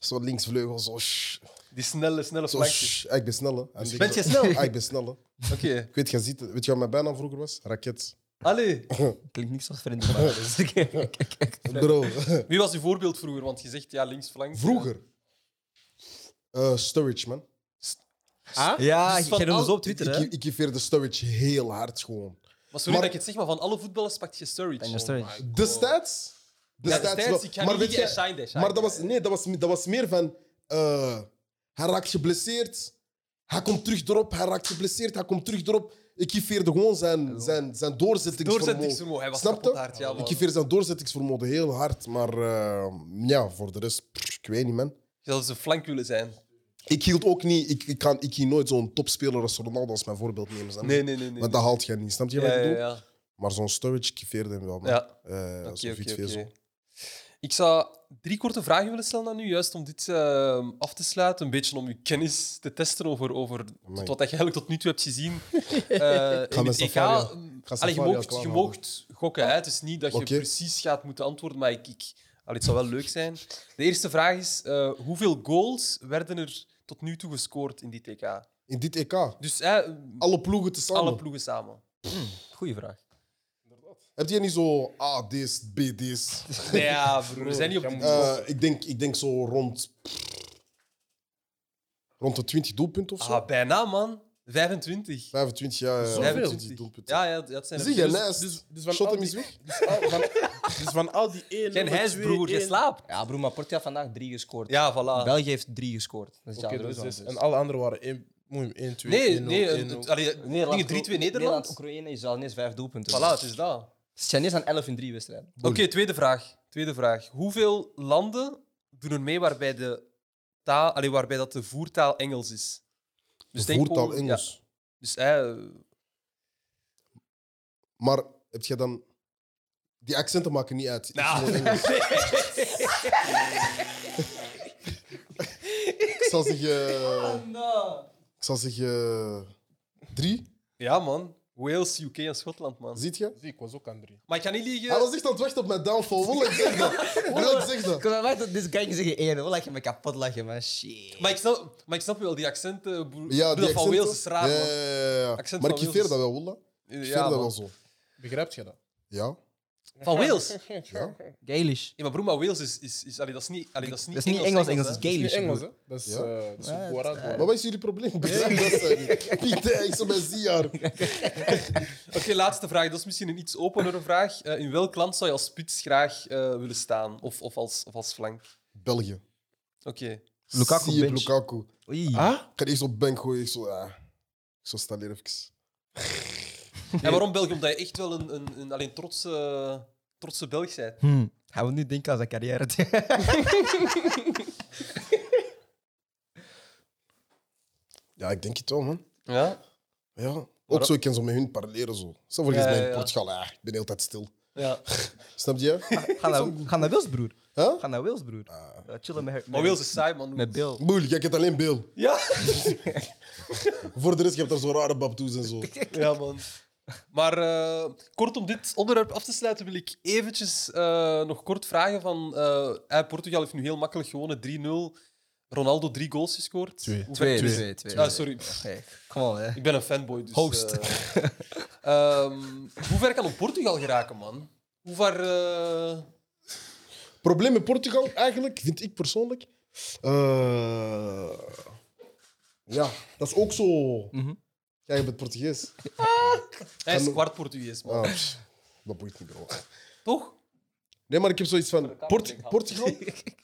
[SPEAKER 1] Zo linksvleugel, zo... shh,
[SPEAKER 2] Die snelle, snelle
[SPEAKER 1] Zo,
[SPEAKER 2] flankjes.
[SPEAKER 1] shh, ah, ik ben snel, hè.
[SPEAKER 4] Ben je snel?
[SPEAKER 1] Ah, ik ben snel, hè.
[SPEAKER 2] Oké.
[SPEAKER 1] Ik weet, jij ziet, het. weet je wat mijn bijnaam vroeger was? Raket.
[SPEAKER 2] Allee,
[SPEAKER 4] Klinkt niet zoals vrienden, maar... dus ik- ik- ik- ik-
[SPEAKER 1] Bro.
[SPEAKER 2] wie was uw voorbeeld vroeger? Want je zegt ja, linksflank.
[SPEAKER 1] Vroeger. Eh, Sturridge, man.
[SPEAKER 4] Ah? Ja,
[SPEAKER 2] Dus
[SPEAKER 4] je
[SPEAKER 2] van
[SPEAKER 4] kent
[SPEAKER 2] al-
[SPEAKER 4] ons op
[SPEAKER 1] Ik,
[SPEAKER 4] Twitter, hè?
[SPEAKER 1] ik, ik de Sturridge heel hard gewoon.
[SPEAKER 2] Maar sorry
[SPEAKER 1] Maar-
[SPEAKER 2] dat ik het zeg, maar van alle voetballers pakt je Sturridge. Oh
[SPEAKER 4] Tanya Sturridge.
[SPEAKER 1] Destijds?
[SPEAKER 2] Ja,
[SPEAKER 1] Destijds
[SPEAKER 2] destijds,
[SPEAKER 1] wel.
[SPEAKER 2] ik ga
[SPEAKER 1] maar
[SPEAKER 2] niet
[SPEAKER 1] weet
[SPEAKER 2] liegen,
[SPEAKER 1] je-
[SPEAKER 2] hij shine, hij shine.
[SPEAKER 1] maar dat was, nee, dat, was, dat was meer van... eh, hij raakt geblesseerd. Hij komt terug erop. Hij raakt geblesseerd. Hij komt terug erop. Ik veerde gewoon zijn, zijn, zijn doorzettingsvermogen.
[SPEAKER 2] Doorzettingsvermogen, hij was
[SPEAKER 1] Snap je?
[SPEAKER 2] kapot hard. Ja, man.
[SPEAKER 1] Ik veer zijn doorzettingsvermogen heel hard. Maar eh, ja, voor de rest, pff, ik weet niet, man.
[SPEAKER 2] Je zou zijn flank willen zijn.
[SPEAKER 1] Ik hield ook niet, ik, ik, kan, ik hier nooit zo'n topspeler als Ronaldo als mijn voorbeeld nemen. snap je?
[SPEAKER 2] Nee, nee, nee. nee.
[SPEAKER 1] Want dat haalt jij niet, snap je
[SPEAKER 2] ja,
[SPEAKER 1] wat ik
[SPEAKER 2] ja,
[SPEAKER 1] bedoel?
[SPEAKER 2] ja.
[SPEAKER 1] Maar zo'n Sturridge kiveerde hem wel. man.
[SPEAKER 2] Ja.
[SPEAKER 1] Eh,
[SPEAKER 2] Oké,
[SPEAKER 1] alsof
[SPEAKER 2] oké,
[SPEAKER 1] iets
[SPEAKER 2] oké.
[SPEAKER 1] veel zo-
[SPEAKER 2] Ik zou drie korte vragen willen stellen aan u, juist om dit eh, af te sluiten. Een beetje om uw kennis te testen over, over
[SPEAKER 1] Amai.
[SPEAKER 2] tot wat je eigenlijk tot nu toe hebt gezien. Eh in
[SPEAKER 1] met
[SPEAKER 2] het EK.
[SPEAKER 1] Safaria-
[SPEAKER 2] mm,
[SPEAKER 1] ga
[SPEAKER 2] allee, je
[SPEAKER 1] Safaria
[SPEAKER 2] moogt- je
[SPEAKER 1] klaarhalen.
[SPEAKER 2] moogt gokken. Hè? Het is niet dat je
[SPEAKER 1] Oké.
[SPEAKER 2] precies gaat moeten antwoorden, maar ik, ik, allee, het zou wel leuk zijn. De eerste vraag is, eh, hoeveel goals werden er tot nu toe gescoord in dit EK?
[SPEAKER 1] In dit EK,
[SPEAKER 2] Dus hè,
[SPEAKER 1] alle ploegen tezamen.
[SPEAKER 2] alle ploegen samen.
[SPEAKER 4] Goeie vraag.
[SPEAKER 1] Heb je niet zo A, D's, B, D's?
[SPEAKER 2] Ja, broer, we zijn niet op de
[SPEAKER 1] Eh, ik, denk, ik denk zo rond. rond de 20 doelpunten of zo.
[SPEAKER 2] Ah, bijna, man. 25.
[SPEAKER 1] 25 jaar.
[SPEAKER 3] Zoveel?
[SPEAKER 1] 25 doelpunten.
[SPEAKER 2] Ja, ja, dat zijn er
[SPEAKER 1] Zie je,
[SPEAKER 2] veel.
[SPEAKER 1] naast.
[SPEAKER 3] dus- dus van
[SPEAKER 1] Shot
[SPEAKER 3] al
[SPEAKER 1] hem
[SPEAKER 3] die-
[SPEAKER 1] is weg.
[SPEAKER 3] Dus al- van- Dus van al die één...
[SPEAKER 2] Geen
[SPEAKER 3] nummer
[SPEAKER 2] hijs,
[SPEAKER 3] twee,
[SPEAKER 2] broer. Je
[SPEAKER 3] één-
[SPEAKER 2] slaapt.
[SPEAKER 4] Ja, broer, maar Portugal heeft vandaag drie gescoord.
[SPEAKER 2] Ja, voilà.
[SPEAKER 4] België heeft drie gescoord. Dat is
[SPEAKER 3] Oké,
[SPEAKER 4] ja,
[SPEAKER 3] dat is
[SPEAKER 4] dus
[SPEAKER 3] zes. En alle anderen waren één, moeim, één, twee,
[SPEAKER 2] nee,
[SPEAKER 3] één, nul,
[SPEAKER 2] nee.
[SPEAKER 3] één,
[SPEAKER 2] het-
[SPEAKER 3] nul.
[SPEAKER 2] het- allee, dingen 3-2 Nederland.
[SPEAKER 4] Oekraïne is al ineens vijf doelpunten.
[SPEAKER 2] Voilà, het is dat. Oké,
[SPEAKER 4] Ze zijn ineens aan 11 in drie wedstrijden.
[SPEAKER 2] tweede vraag. Tweede vraag. Hoeveel landen doen er mee waarbij, de taal, allee, waarbij dat de voertaal Engels is?
[SPEAKER 1] Dus
[SPEAKER 2] denk
[SPEAKER 1] voertaal
[SPEAKER 2] gewoon-
[SPEAKER 1] Engels.
[SPEAKER 2] ja, dus eh,
[SPEAKER 1] Maar heb je dan. Die accenten maken niet uit. Het is
[SPEAKER 2] Nou.
[SPEAKER 1] gewoon Engels. ik zal zeggen. Ik zal zeggen. Drie,
[SPEAKER 2] ja, man. Wales, UK en Schotland, man.
[SPEAKER 1] ziet je?
[SPEAKER 3] Zie, Ik was ook aan drie.
[SPEAKER 2] Maar ik kan niet liegen.
[SPEAKER 1] Hij was echt aan het wachten op mijn downfall. Wil ik zeg dat? Wil ik zeg dat?
[SPEAKER 4] Ik kan maar dat dit kan je zeggen één. Hoor, laat je me kapot lachen, man. Shit.
[SPEAKER 2] Maar ik, snap, maar ik snap wel die accenten. eh, broer.
[SPEAKER 1] Ja,
[SPEAKER 2] dat van
[SPEAKER 1] accenten.
[SPEAKER 2] Wales is raar,
[SPEAKER 1] Ja,
[SPEAKER 2] man.
[SPEAKER 1] ja, ja, ja.
[SPEAKER 2] Accent
[SPEAKER 1] Maar ik
[SPEAKER 2] van
[SPEAKER 1] kiveer
[SPEAKER 2] Wales.
[SPEAKER 1] dat wel, Wolla. Ik
[SPEAKER 2] Ja,
[SPEAKER 1] dat
[SPEAKER 2] man.
[SPEAKER 1] wel zo.
[SPEAKER 3] Begrijp je dat?
[SPEAKER 1] Ja.
[SPEAKER 2] Van Wales?
[SPEAKER 1] ja.
[SPEAKER 4] Gaelish.
[SPEAKER 2] Ja, maar broer, maar Wales is... is, is allee, dat is niet, allee, dat is niet
[SPEAKER 4] Dat is niet Engels, Engels,
[SPEAKER 2] hè.
[SPEAKER 4] dat is
[SPEAKER 3] Dat is niet
[SPEAKER 4] Gaelish.
[SPEAKER 3] Engels,
[SPEAKER 4] broer.
[SPEAKER 3] hè? Dat is
[SPEAKER 1] Ja.
[SPEAKER 3] eh, dat is
[SPEAKER 4] Ja,
[SPEAKER 3] een voorraad.
[SPEAKER 4] het-
[SPEAKER 1] Maar wat is jullie probleem? Ik begrijp dat zij niet. Pieter, ik zo bij Ziar.
[SPEAKER 2] Oké, laatste vraag. Dat is misschien een iets openere vraag. Eh, in welk land zou je als spits graag eh, willen staan? Of, of, als, of als flank?
[SPEAKER 1] België.
[SPEAKER 2] Oké.
[SPEAKER 4] Lukaku
[SPEAKER 1] Zie je
[SPEAKER 4] bench.
[SPEAKER 1] Lukaku. Ik
[SPEAKER 4] Oei.
[SPEAKER 1] ga die eerst op bank gooien. Ik zo, ah. Ik zo sta hier even.
[SPEAKER 2] En waarom België? Omdat je echt wel een, een, een alleen trotse, trotse Belg bent.
[SPEAKER 4] Hmm. Hij wil nu denken aan zijn carrière.
[SPEAKER 1] Ja, ik denk het wel, man.
[SPEAKER 2] Ja?
[SPEAKER 1] Ja. Ook zo, ik kan zo met hun parleren. Zo. Zo voor
[SPEAKER 2] Ja,
[SPEAKER 1] ja, mij
[SPEAKER 2] ja,
[SPEAKER 1] in
[SPEAKER 2] ja.
[SPEAKER 1] Portugal. Ah, ik ben de hele tijd stil.
[SPEAKER 2] ja.
[SPEAKER 1] Snap je?
[SPEAKER 4] Ga naar, ga naar Wils, broer.
[SPEAKER 1] Huh?
[SPEAKER 4] Ga naar Wils, broer.
[SPEAKER 1] Ah.
[SPEAKER 4] Ja, chillen met, met,
[SPEAKER 2] Maar Wales is saai, man.
[SPEAKER 4] met Bill.
[SPEAKER 1] Moeilijk, jij kent alleen Bill.
[SPEAKER 2] Ja?
[SPEAKER 1] Voor de rest, je hebt daar zo rare babtoes en zo.
[SPEAKER 2] Ja, man. Maar eh, kort om dit onderwerp af te sluiten, wil ik eventjes eh, nog kort vragen van... eh, eh, Portugal heeft nu heel makkelijk gewonnen, 3-0. Ronaldo drie goals gescoord.
[SPEAKER 3] Twee.
[SPEAKER 2] Hoe-
[SPEAKER 4] Twee,
[SPEAKER 2] twee.
[SPEAKER 4] twee, twee.
[SPEAKER 2] Ah, sorry.
[SPEAKER 4] Hey, come on, hè.
[SPEAKER 2] Ik ben een fanboy, dus...
[SPEAKER 4] Host.
[SPEAKER 2] eh, ehm, hoe ver kan op Portugal geraken, man? Hoe ver... eh,
[SPEAKER 1] probleem met Portugal eigenlijk, vind ik persoonlijk. eh, ja, dat is ook zo.
[SPEAKER 4] Mhm.
[SPEAKER 1] Ja, je bent Portugees.
[SPEAKER 2] Hij is
[SPEAKER 1] Kan-
[SPEAKER 2] kwart Portugees, man.
[SPEAKER 1] Ah, pff, dat boeit niet, bro.
[SPEAKER 2] Toch?
[SPEAKER 1] Nee, maar ik heb zoiets van.
[SPEAKER 2] kamer
[SPEAKER 1] Port-
[SPEAKER 2] denk ik
[SPEAKER 1] Portugal,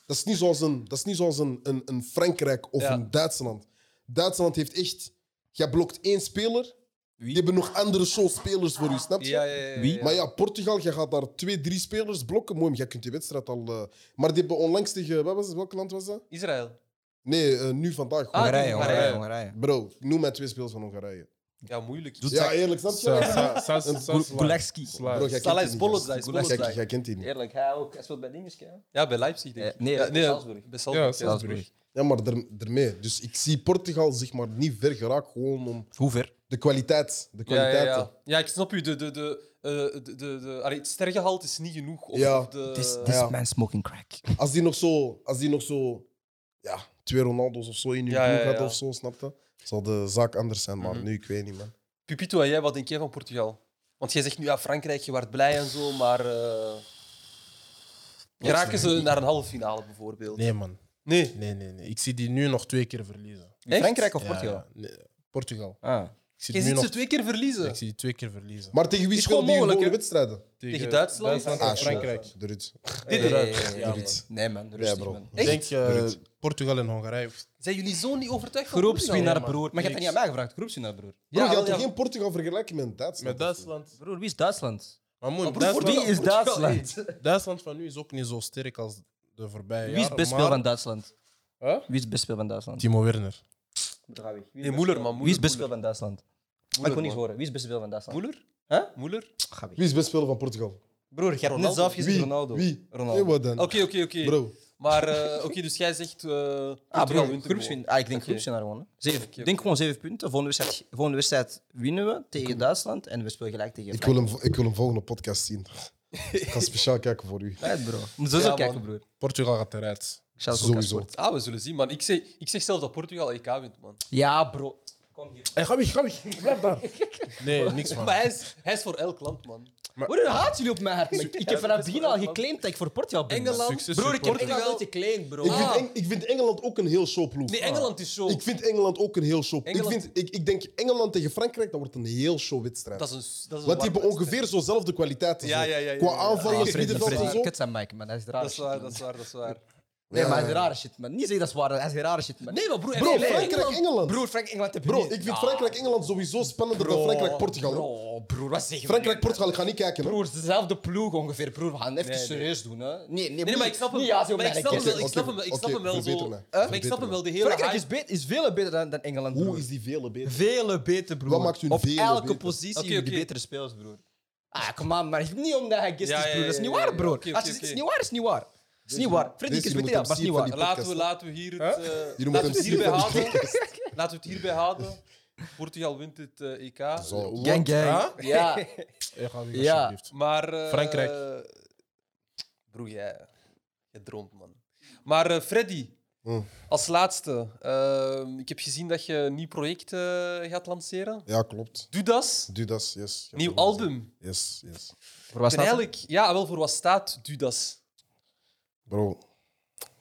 [SPEAKER 1] dat is niet zoals een, dat is niet zoals een, een, een Frankrijk of
[SPEAKER 2] Ja.
[SPEAKER 1] een Duitsland. Duitsland heeft echt. Jij blokt één speler. Die hebben nog andere show spelers voor je, snap je?
[SPEAKER 2] Ja, ja, ja. ja,
[SPEAKER 4] Wie?
[SPEAKER 2] ja.
[SPEAKER 1] Maar ja, Portugal, jij gaat daar twee, drie spelers blokken. Mooi, maar jij kunt die wedstrijd al. eh, maar die hebben onlangs tegen. Wat was het, welk land was dat?
[SPEAKER 2] Israël.
[SPEAKER 1] Nee, eh, nu vandaag.
[SPEAKER 2] Ah,
[SPEAKER 1] gewoon.
[SPEAKER 4] Hongarije, Hongarije,
[SPEAKER 2] Hongarije.
[SPEAKER 4] Hongarije.
[SPEAKER 1] Bro, noem mij twee spelers van Hongarije.
[SPEAKER 2] Ja, moeilijk.
[SPEAKER 3] Doet-
[SPEAKER 1] Ja,
[SPEAKER 3] Zak-
[SPEAKER 1] eerlijk, snap je?
[SPEAKER 4] Gulecki.
[SPEAKER 1] Bro, jij kent
[SPEAKER 2] Salah
[SPEAKER 1] die
[SPEAKER 2] is
[SPEAKER 1] niet,
[SPEAKER 2] Bollodzai,
[SPEAKER 1] gast.
[SPEAKER 2] is Bollodzai.
[SPEAKER 1] Jij- Jij kent die niet.
[SPEAKER 4] Eerlijk, hij ook. Hij speelt bij Dingeske.
[SPEAKER 2] Ja, bij Leipzig, denk ik.
[SPEAKER 4] Eh, nee,
[SPEAKER 2] ja,
[SPEAKER 4] bij Salzburg.
[SPEAKER 2] bij Salzburg,
[SPEAKER 3] Ja,
[SPEAKER 2] ja.
[SPEAKER 3] Salzburg.
[SPEAKER 1] Ja, maar er, ermee. Dus ik zie Portugal zich maar niet ver geraakt, gewoon om
[SPEAKER 4] Hoe ver?
[SPEAKER 1] de kwaliteit. De
[SPEAKER 2] Ja, ja,
[SPEAKER 1] kwaliteit.
[SPEAKER 2] ja. ja, ik snap u. De, de, de, eh, de, de, de, allee, het sterrengehalte is niet genoeg. Of,
[SPEAKER 1] Ja.
[SPEAKER 2] of de,
[SPEAKER 4] This, this
[SPEAKER 1] ja.
[SPEAKER 4] man smoking crack.
[SPEAKER 1] Als die nog zo, als die nog zo ja, twee Ronaldo's of zo in hun
[SPEAKER 2] Ja, ja,
[SPEAKER 1] ploeg had
[SPEAKER 2] ja.
[SPEAKER 1] of zo, snap je? Zal de zaak anders zijn, maar
[SPEAKER 2] Mhm.
[SPEAKER 1] nu, ik weet niet, man.
[SPEAKER 2] Pupito, en jij, wat denk jij van Portugal? Want jij zegt nu, ja, Frankrijk, je werd blij en zo, maar... eh, geraken ze naar een halve finale, bijvoorbeeld?
[SPEAKER 3] Nee, man.
[SPEAKER 2] Nee.
[SPEAKER 3] Nee, nee, nee. Ik zie die nu nog twee keer verliezen.
[SPEAKER 2] Echt?
[SPEAKER 4] Frankrijk of
[SPEAKER 3] Ja,
[SPEAKER 4] Portugal?
[SPEAKER 3] nee, Portugal.
[SPEAKER 4] Ah.
[SPEAKER 3] Ik zie,
[SPEAKER 2] Je
[SPEAKER 3] die nu
[SPEAKER 2] ziet
[SPEAKER 3] nog,
[SPEAKER 2] ze twee keer verliezen.
[SPEAKER 3] ik zie die twee keer verliezen.
[SPEAKER 1] Maar tegen wie
[SPEAKER 2] Is
[SPEAKER 1] spelen
[SPEAKER 2] gewoon
[SPEAKER 1] die hun
[SPEAKER 2] mogelijk,
[SPEAKER 1] gewone wedstrijden?
[SPEAKER 2] tegen Duitsland?
[SPEAKER 3] Duitsland
[SPEAKER 1] Ah,
[SPEAKER 3] en
[SPEAKER 1] shit.
[SPEAKER 3] Frankrijk.
[SPEAKER 1] Doe dit.
[SPEAKER 4] Hey,
[SPEAKER 2] Dit-
[SPEAKER 4] hey, hey,
[SPEAKER 3] Ja,
[SPEAKER 4] hey,
[SPEAKER 3] man.
[SPEAKER 4] hey. Eh, Nee, man.
[SPEAKER 1] Ja,
[SPEAKER 4] Rustig,
[SPEAKER 1] bro.
[SPEAKER 4] man.
[SPEAKER 3] Ik denk eh,
[SPEAKER 1] Doe
[SPEAKER 3] Portugal en Hongarije.
[SPEAKER 2] Zijn jullie zo niet overtuigd van Portugal?
[SPEAKER 4] Groepswinnaar,
[SPEAKER 3] Ja, man.
[SPEAKER 4] broer. Maar je hebt het niet aan mij gevraagd. Groepswinnaar, broer.
[SPEAKER 1] Bro, je
[SPEAKER 2] wel,
[SPEAKER 1] gaat toch geen Portugal vergelijken met Duitsland?
[SPEAKER 3] Met Duitsland.
[SPEAKER 4] Broer, wie is Duitsland?
[SPEAKER 3] Maar mooi,
[SPEAKER 2] Maar broer,
[SPEAKER 3] Duitsland,
[SPEAKER 4] Wie is Duitsland?
[SPEAKER 3] Duitsland van nu is ook niet zo sterk als de voorbije
[SPEAKER 4] Wie is
[SPEAKER 3] jaren,
[SPEAKER 4] het best
[SPEAKER 3] maar-
[SPEAKER 4] speel van Duitsland?
[SPEAKER 3] Huh?
[SPEAKER 4] Wie is het best speel van Duitsland?
[SPEAKER 3] Timo Werner.
[SPEAKER 2] Nee, Moeller, man.
[SPEAKER 4] Wie is het best
[SPEAKER 2] Moeller,
[SPEAKER 4] speel van Duitsland? Maar ik
[SPEAKER 2] Moeller,
[SPEAKER 4] kon niet
[SPEAKER 2] man.
[SPEAKER 4] horen. Wie is het best speel van Duitsland?
[SPEAKER 2] Moeller?
[SPEAKER 4] Huh?
[SPEAKER 2] Moeller?
[SPEAKER 1] Wie is best speler van Portugal?
[SPEAKER 4] Broer, je hebt net
[SPEAKER 2] Ronaldo.
[SPEAKER 4] zelf gezegd
[SPEAKER 1] Wie?
[SPEAKER 4] Ronaldo.
[SPEAKER 1] Wie?
[SPEAKER 4] Ronaldo.
[SPEAKER 1] Nee, wat dan?
[SPEAKER 2] Oké, oké, oké.
[SPEAKER 1] Bro,
[SPEAKER 2] Maar, eh, oké, dus jij zegt... eh
[SPEAKER 4] Ah,
[SPEAKER 2] Portugal
[SPEAKER 4] broer,
[SPEAKER 2] wint hem gewoon.
[SPEAKER 4] groepswin. Ah, ik denk
[SPEAKER 2] Oké.
[SPEAKER 4] groepswinnaar gewonnen. Zeven.
[SPEAKER 2] Oké, oké.
[SPEAKER 4] Ik denk gewoon zeven punten. Volgende wedstrijd, volgende wedstrijd winnen we tegen Duitsland en we spelen gelijk tegen
[SPEAKER 1] ik wil, hem, ik wil hem volgende podcast zien. ik ga speciaal kijken voor u.
[SPEAKER 4] Frankrijk. Right, bro. Moet zo
[SPEAKER 2] Ja,
[SPEAKER 4] zo
[SPEAKER 2] man.
[SPEAKER 4] kijken, broer.
[SPEAKER 3] Portugal gaat eruit.
[SPEAKER 4] Charles
[SPEAKER 1] Sowieso.
[SPEAKER 4] Sowieso.
[SPEAKER 2] Ah, we zullen zien, man. Ik zeg, ik zeg zelf dat Portugal EK wint, man.
[SPEAKER 4] Ja, bro. Kom hier.
[SPEAKER 3] Hey, ga weg, ga weg. Blijf daar. Nee, niks
[SPEAKER 2] Maar
[SPEAKER 3] man.
[SPEAKER 2] hij is, hij is voor elk land, man.
[SPEAKER 4] Broer, haat jullie op mijn hart. man. Ik heb vanaf het begin al geclaimd dat ik voor Portugal ben. man.
[SPEAKER 2] Engeland.
[SPEAKER 3] Succes,
[SPEAKER 4] Broer, ik heb
[SPEAKER 3] supporter.
[SPEAKER 4] Engeland nooit geclaimd, bro.
[SPEAKER 1] Ik,
[SPEAKER 2] Ah.
[SPEAKER 1] vind Eng- ik vind Engeland ook een heel show ploeg. Ah.
[SPEAKER 2] Nee, Engeland is zo.
[SPEAKER 1] Ik vind Engeland ook een heel show. Ik,
[SPEAKER 2] Engeland-
[SPEAKER 1] vind, ik, ik denk Engeland tegen Frankrijk, dat wordt een heel show wedstrijd.
[SPEAKER 2] Dat is een, dat is een
[SPEAKER 1] Want die
[SPEAKER 2] warm
[SPEAKER 1] hebben ongeveer zo'nzelfde kwaliteiten.
[SPEAKER 2] Ja,
[SPEAKER 1] zo.
[SPEAKER 2] ja, ja, ja,
[SPEAKER 1] Qua
[SPEAKER 2] ja.
[SPEAKER 1] aanvallen,
[SPEAKER 4] Ah,
[SPEAKER 1] middenveld en zo.
[SPEAKER 4] Kut zijn Mike, man. Hij is raar.
[SPEAKER 2] Dat is waar, dat is waar, dat is waar.
[SPEAKER 4] Nee,
[SPEAKER 1] Ja.
[SPEAKER 4] maar hij is raar shit, man. Niet zeggen dat is waar. Hij is raar shit, man. Nee, maar broer.
[SPEAKER 1] Bro, Frankrijk-Engeland.
[SPEAKER 4] Broer, Frankrijk-Engeland heb je
[SPEAKER 1] Bro,
[SPEAKER 4] niet.
[SPEAKER 1] ik vind
[SPEAKER 4] Ah,
[SPEAKER 1] Frankrijk-Engeland sowieso spannender dan
[SPEAKER 4] bro,
[SPEAKER 1] Frankrijk-Portugal.
[SPEAKER 4] Bro, Oh, broer, wat zeg je?
[SPEAKER 1] Frankrijk-Portugal, ik ga niet kijken. hè.
[SPEAKER 4] Broer, het is dezelfde ploeg ongeveer. Broer, we gaan even
[SPEAKER 2] Nee, nee.
[SPEAKER 4] serieus doen, hè? Nee, nee,
[SPEAKER 2] Nee,
[SPEAKER 4] broer,
[SPEAKER 2] maar ik snap hem,
[SPEAKER 4] niet ja, zo
[SPEAKER 2] maar ik
[SPEAKER 4] merken.
[SPEAKER 2] snap hem wel. Ik
[SPEAKER 1] Oké,
[SPEAKER 2] snap hem wel. Ik
[SPEAKER 1] oké,
[SPEAKER 2] snap hem wel
[SPEAKER 1] verbeter
[SPEAKER 2] zo.
[SPEAKER 1] mij.
[SPEAKER 2] Eh? Maar ik
[SPEAKER 1] Verbeter
[SPEAKER 2] snap hem
[SPEAKER 1] mij.
[SPEAKER 2] wel. De hele
[SPEAKER 4] Frankrijk is,
[SPEAKER 2] hype-
[SPEAKER 4] beter, is veel beter dan, dan Engeland, broer.
[SPEAKER 1] Hoe is die vele beter?
[SPEAKER 4] Vele beter, broer.
[SPEAKER 1] Wat maakt hun
[SPEAKER 4] Op
[SPEAKER 1] vele
[SPEAKER 4] elke
[SPEAKER 1] beter?
[SPEAKER 4] positie
[SPEAKER 2] Oké,
[SPEAKER 4] hebben die
[SPEAKER 2] oké.
[SPEAKER 4] betere spelers, broer. Ah, kom aan, maar niet omdat hij guest
[SPEAKER 2] Ja,
[SPEAKER 4] is,
[SPEAKER 2] ja,
[SPEAKER 4] broer. Dat is
[SPEAKER 2] ja,
[SPEAKER 4] niet
[SPEAKER 2] ja,
[SPEAKER 4] waar,
[SPEAKER 2] ja.
[SPEAKER 4] broer.
[SPEAKER 2] Oké,
[SPEAKER 4] Als
[SPEAKER 2] oké,
[SPEAKER 4] het is
[SPEAKER 2] oké.
[SPEAKER 4] niet waar, is het niet waar. Het is niet waar. Freddy
[SPEAKER 1] deze
[SPEAKER 4] is
[SPEAKER 1] moet
[SPEAKER 4] beter, maar
[SPEAKER 1] hem
[SPEAKER 4] het is niet
[SPEAKER 1] zien
[SPEAKER 4] waar.
[SPEAKER 1] van die-
[SPEAKER 2] Laten we,
[SPEAKER 1] podcast.
[SPEAKER 2] laten we hier
[SPEAKER 3] Huh?
[SPEAKER 2] het, eh,
[SPEAKER 1] Jullie
[SPEAKER 2] laten
[SPEAKER 1] moeten
[SPEAKER 2] we het
[SPEAKER 1] hem zien
[SPEAKER 2] hierbij
[SPEAKER 1] van die
[SPEAKER 2] houden. Laten we het hierbij houden. Portugal wint het eh, EK.
[SPEAKER 1] Zo.
[SPEAKER 4] Gang, gang. Ja.
[SPEAKER 3] Hey, ga weg,
[SPEAKER 4] Ja.
[SPEAKER 3] alsjeblieft.
[SPEAKER 2] Maar... eh,
[SPEAKER 3] Frankrijk.
[SPEAKER 2] Broer, jij... Je droomt, man. Maar eh, Freddy,
[SPEAKER 1] Hm.
[SPEAKER 2] als laatste. eh, ik heb gezien dat je een nieuw project eh, gaat lanceren.
[SPEAKER 1] Ja, klopt.
[SPEAKER 2] Doe dat.
[SPEAKER 1] Dudas, yes. Ja,
[SPEAKER 2] Nieuw
[SPEAKER 1] Dudas.
[SPEAKER 2] album.
[SPEAKER 1] Yes, yes.
[SPEAKER 4] Voor wat
[SPEAKER 2] En eigenlijk, ja, wel voor wat staat Dudas.
[SPEAKER 1] Bro,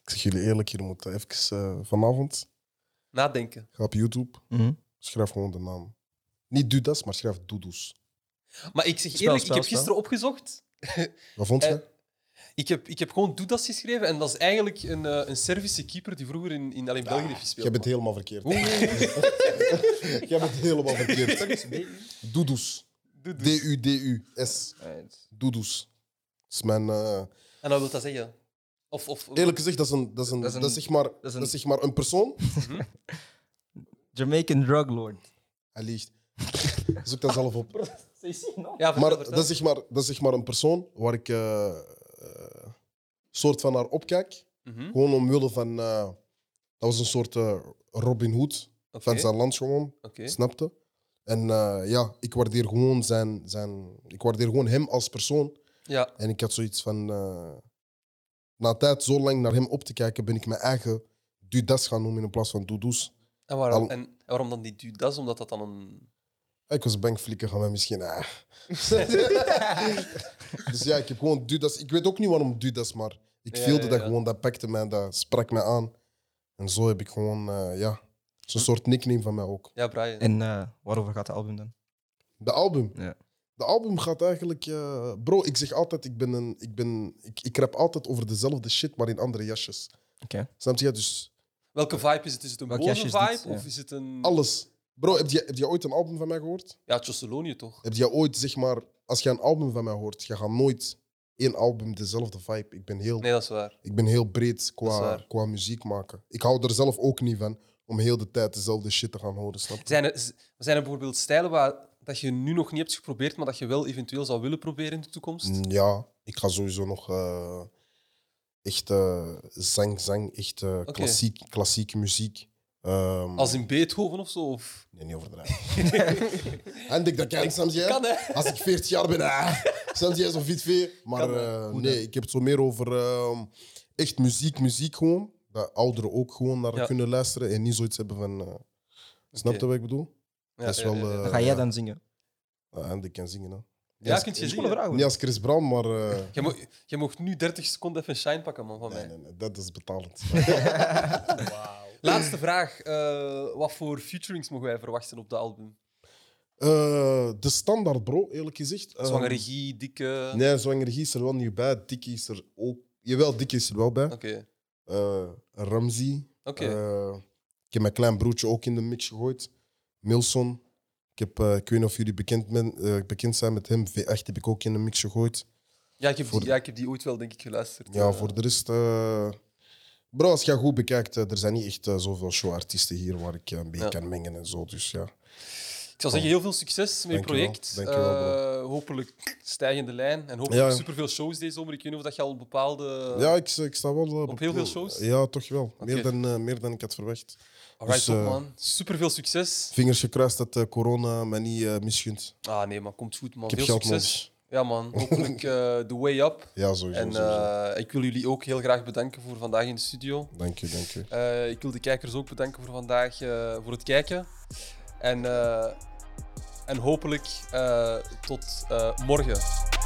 [SPEAKER 1] ik zeg jullie eerlijk, jullie moeten even eh, vanavond
[SPEAKER 2] Nadenken.
[SPEAKER 1] ga op YouTube, schrijf gewoon de naam. Niet Dudas, maar schrijf Doedoes.
[SPEAKER 2] Maar ik zeg
[SPEAKER 4] Spel,
[SPEAKER 2] eerlijk,
[SPEAKER 4] spel,
[SPEAKER 2] ik heb
[SPEAKER 4] spel.
[SPEAKER 2] gisteren opgezocht.
[SPEAKER 1] Wat vond
[SPEAKER 2] Eh,
[SPEAKER 1] je?
[SPEAKER 2] Ik heb, ik heb gewoon Dudas geschreven. En dat is eigenlijk een, eh, een Servische keeper die vroeger in, in, alleen België heeft gespeeld.
[SPEAKER 1] Jij bent helemaal verkeerd.
[SPEAKER 2] Hoe-
[SPEAKER 1] Jij bent helemaal verkeerd. Doedoes.
[SPEAKER 2] Doedoes.
[SPEAKER 1] D-U-D-U-S. Doedoes. Dat is mijn... eh,
[SPEAKER 2] En wat wil dat zeggen? Of, of,
[SPEAKER 1] Eerlijk gezegd, dat is, een, dat is, een, dat
[SPEAKER 4] Dat
[SPEAKER 1] is,
[SPEAKER 4] is een-
[SPEAKER 1] zeg, maar, dat
[SPEAKER 4] is
[SPEAKER 1] is,
[SPEAKER 4] een-
[SPEAKER 1] zeg maar een persoon.
[SPEAKER 4] Jamaican drug lord.
[SPEAKER 1] Hij liegt. Zoek dat zelf op.
[SPEAKER 2] ja, vertel,
[SPEAKER 1] Maar dat
[SPEAKER 2] vertel.
[SPEAKER 1] is zeg maar, dat is zeg maar een persoon waar ik eh, eh, soort van naar opkijk.
[SPEAKER 2] Mhm.
[SPEAKER 1] Gewoon omwille van... eh, dat was een soort eh, Robin Hood
[SPEAKER 2] Oké,
[SPEAKER 1] van zijn land gewoon.
[SPEAKER 2] oké.
[SPEAKER 1] Snapte? En eh, ja, ik waardeer gewoon zijn, zijn... Ik waardeer gewoon hem als persoon.
[SPEAKER 2] Ja,
[SPEAKER 1] En ik had zoiets van... eh, na een tijd zo lang naar hem op te kijken, ben ik mijn eigen Dudas gaan noemen in plaats van Doedoes.
[SPEAKER 2] en waarom,
[SPEAKER 1] Al-
[SPEAKER 2] en, en waarom dan die Dudas? Omdat dat dan een...
[SPEAKER 1] Ik was bang flikken gaan wij misschien... ah. dus ja, ik heb gewoon Dudas... Ik weet ook niet waarom Dudas, maar ik
[SPEAKER 2] Ja,
[SPEAKER 1] voelde
[SPEAKER 2] ja,
[SPEAKER 1] dat
[SPEAKER 2] ja.
[SPEAKER 1] gewoon. Dat pakte mij, dat sprak mij aan. En zo heb ik gewoon... eh, ja, zo'n soort nickname van mij ook.
[SPEAKER 2] Ja, Brian.
[SPEAKER 4] En eh, waarover gaat de album dan?
[SPEAKER 1] De album.
[SPEAKER 4] Ja.
[SPEAKER 1] De album gaat eigenlijk. eh, bro, ik zeg altijd: ik ben een. Ik, ben, ik, ik rap altijd over dezelfde shit, maar in andere jasjes.
[SPEAKER 4] Oké.
[SPEAKER 1] Snap je? Dus
[SPEAKER 2] Welke vibe is het? Is het een
[SPEAKER 4] Welk
[SPEAKER 2] boze
[SPEAKER 4] jasje is
[SPEAKER 2] vibe?
[SPEAKER 4] dit? Ja.
[SPEAKER 2] Of is het een...
[SPEAKER 1] alles. Bro, heb je, heb je ooit een album van mij gehoord?
[SPEAKER 2] Ja, Josselonio toch?
[SPEAKER 1] Heb je ooit, zeg maar, als je een album van mij hoort, je gaat nooit één album dezelfde vibe. Ik ben heel,
[SPEAKER 2] Nee, dat is waar.
[SPEAKER 1] ik ben heel breed
[SPEAKER 2] Dat is
[SPEAKER 1] qua,
[SPEAKER 2] waar.
[SPEAKER 1] qua muziek maken. Ik hou er zelf ook niet van om heel de tijd dezelfde shit te gaan horen, snap je?
[SPEAKER 2] Zijn er, z- zijn er bijvoorbeeld stijlen waar, dat je nu nog niet hebt geprobeerd, maar dat je wel eventueel zou willen proberen in de toekomst?
[SPEAKER 1] Mm, Ja, ik ga sowieso nog eh, echt eh, zang, zang, echt eh, klassiek, klassieke muziek. Ehm,
[SPEAKER 2] Als in Beethoven of zo? Of...
[SPEAKER 1] Nee, niet overdrijven. en ik dat kan, soms jij.
[SPEAKER 2] Kan, hè?
[SPEAKER 1] Als ik 40 jaar ben, ah, soms jij zo fit vee. Maar
[SPEAKER 2] Kan, hè?
[SPEAKER 1] eh,
[SPEAKER 4] Goed, hè?
[SPEAKER 1] nee, ik heb het zo meer over ehm, echt muziek, muziek gewoon. Dat ouderen ook gewoon naar
[SPEAKER 2] Ja.
[SPEAKER 1] kunnen luisteren en niet zoiets hebben van... eh, snap je
[SPEAKER 2] Oké.
[SPEAKER 1] wat ik bedoel?
[SPEAKER 2] Ja,
[SPEAKER 1] dat is
[SPEAKER 2] ja,
[SPEAKER 1] wel...
[SPEAKER 2] ja, ja.
[SPEAKER 1] eh,
[SPEAKER 4] Ga jij
[SPEAKER 1] ja.
[SPEAKER 4] dan zingen?
[SPEAKER 1] Ah, en ik kan zingen, hè.
[SPEAKER 2] Ja, kunt je
[SPEAKER 4] Dat is
[SPEAKER 2] zingen.
[SPEAKER 4] gewoon een vraag.
[SPEAKER 1] Niet
[SPEAKER 4] hoor.
[SPEAKER 1] als Chris Brown, maar... eh,
[SPEAKER 2] Jij mo- jij mocht nu 30 seconden even shine pakken, man, van
[SPEAKER 1] nee,
[SPEAKER 2] mij.
[SPEAKER 1] nee, nee, dat is betalend.
[SPEAKER 2] Laatste vraag. eh, wat voor featurings mogen wij verwachten op de album?
[SPEAKER 1] Eh, de standaard, bro, eerlijk gezegd. Eh,
[SPEAKER 2] Zwange regie, dikke...
[SPEAKER 1] Nee, zwangerie is er wel niet bij. Dikkie is er ook. Jawel, Dikkie is er wel bij.
[SPEAKER 2] Oké.
[SPEAKER 1] Eh Ramzi.
[SPEAKER 2] Oké.
[SPEAKER 1] Eh, ik heb mijn klein broertje ook in de mix gegooid. Milson. Ik, heb, eh, ik weet niet of jullie bekend, men, eh, bekend zijn met hem. V8 heb ik ook in de mix gegooid.
[SPEAKER 2] ja, ik heb
[SPEAKER 1] voor
[SPEAKER 2] die,
[SPEAKER 1] de-
[SPEAKER 2] ja, ik heb die ooit wel, denk ik, geluisterd.
[SPEAKER 1] Ja,
[SPEAKER 2] Eh,
[SPEAKER 1] voor de rest. eh, bro, als je goed bekijkt, eh, er zijn niet echt eh, zoveel showartiesten hier waar ik eh, een beetje
[SPEAKER 2] Ja.
[SPEAKER 1] kan mengen en zo. Dus ja.
[SPEAKER 2] Ik zou zeggen, heel veel succes met je
[SPEAKER 1] Dankjewel,
[SPEAKER 2] project.
[SPEAKER 1] dankjewel, bro.
[SPEAKER 2] Eh, hopelijk stijgende lijn. En hopelijk
[SPEAKER 1] Ja.
[SPEAKER 2] superveel shows deze zomer. Ik weet niet of dat je al bepaalde...
[SPEAKER 1] ja, ik, ik sta wel. eh,
[SPEAKER 2] op heel veel
[SPEAKER 1] beproe-
[SPEAKER 2] shows?
[SPEAKER 1] Ja, toch wel. Meer,
[SPEAKER 2] Oké.
[SPEAKER 1] dan, eh, meer dan ik had verwacht.
[SPEAKER 2] Alright,
[SPEAKER 1] dus,
[SPEAKER 2] Ah, top,
[SPEAKER 1] eh,
[SPEAKER 2] man. Superveel succes.
[SPEAKER 1] Vingers gekruist dat eh, corona mij niet eh, misgunt.
[SPEAKER 2] Ah, nee, maar komt goed, man.
[SPEAKER 1] Ik heb
[SPEAKER 2] Veel
[SPEAKER 1] geld
[SPEAKER 2] succes.
[SPEAKER 1] nodig. Ja,
[SPEAKER 2] Ja, man. Hopelijk eh the way up.
[SPEAKER 1] sowieso.
[SPEAKER 2] En
[SPEAKER 1] sowieso.
[SPEAKER 2] eh, ik wil jullie ook heel graag bedanken voor vandaag in de studio.
[SPEAKER 1] Dank je, dank je.
[SPEAKER 2] Eh, ik wil de kijkers ook bedanken voor vandaag, eh, voor het kijken. En, eh, en hopelijk eh, tot eh, morgen.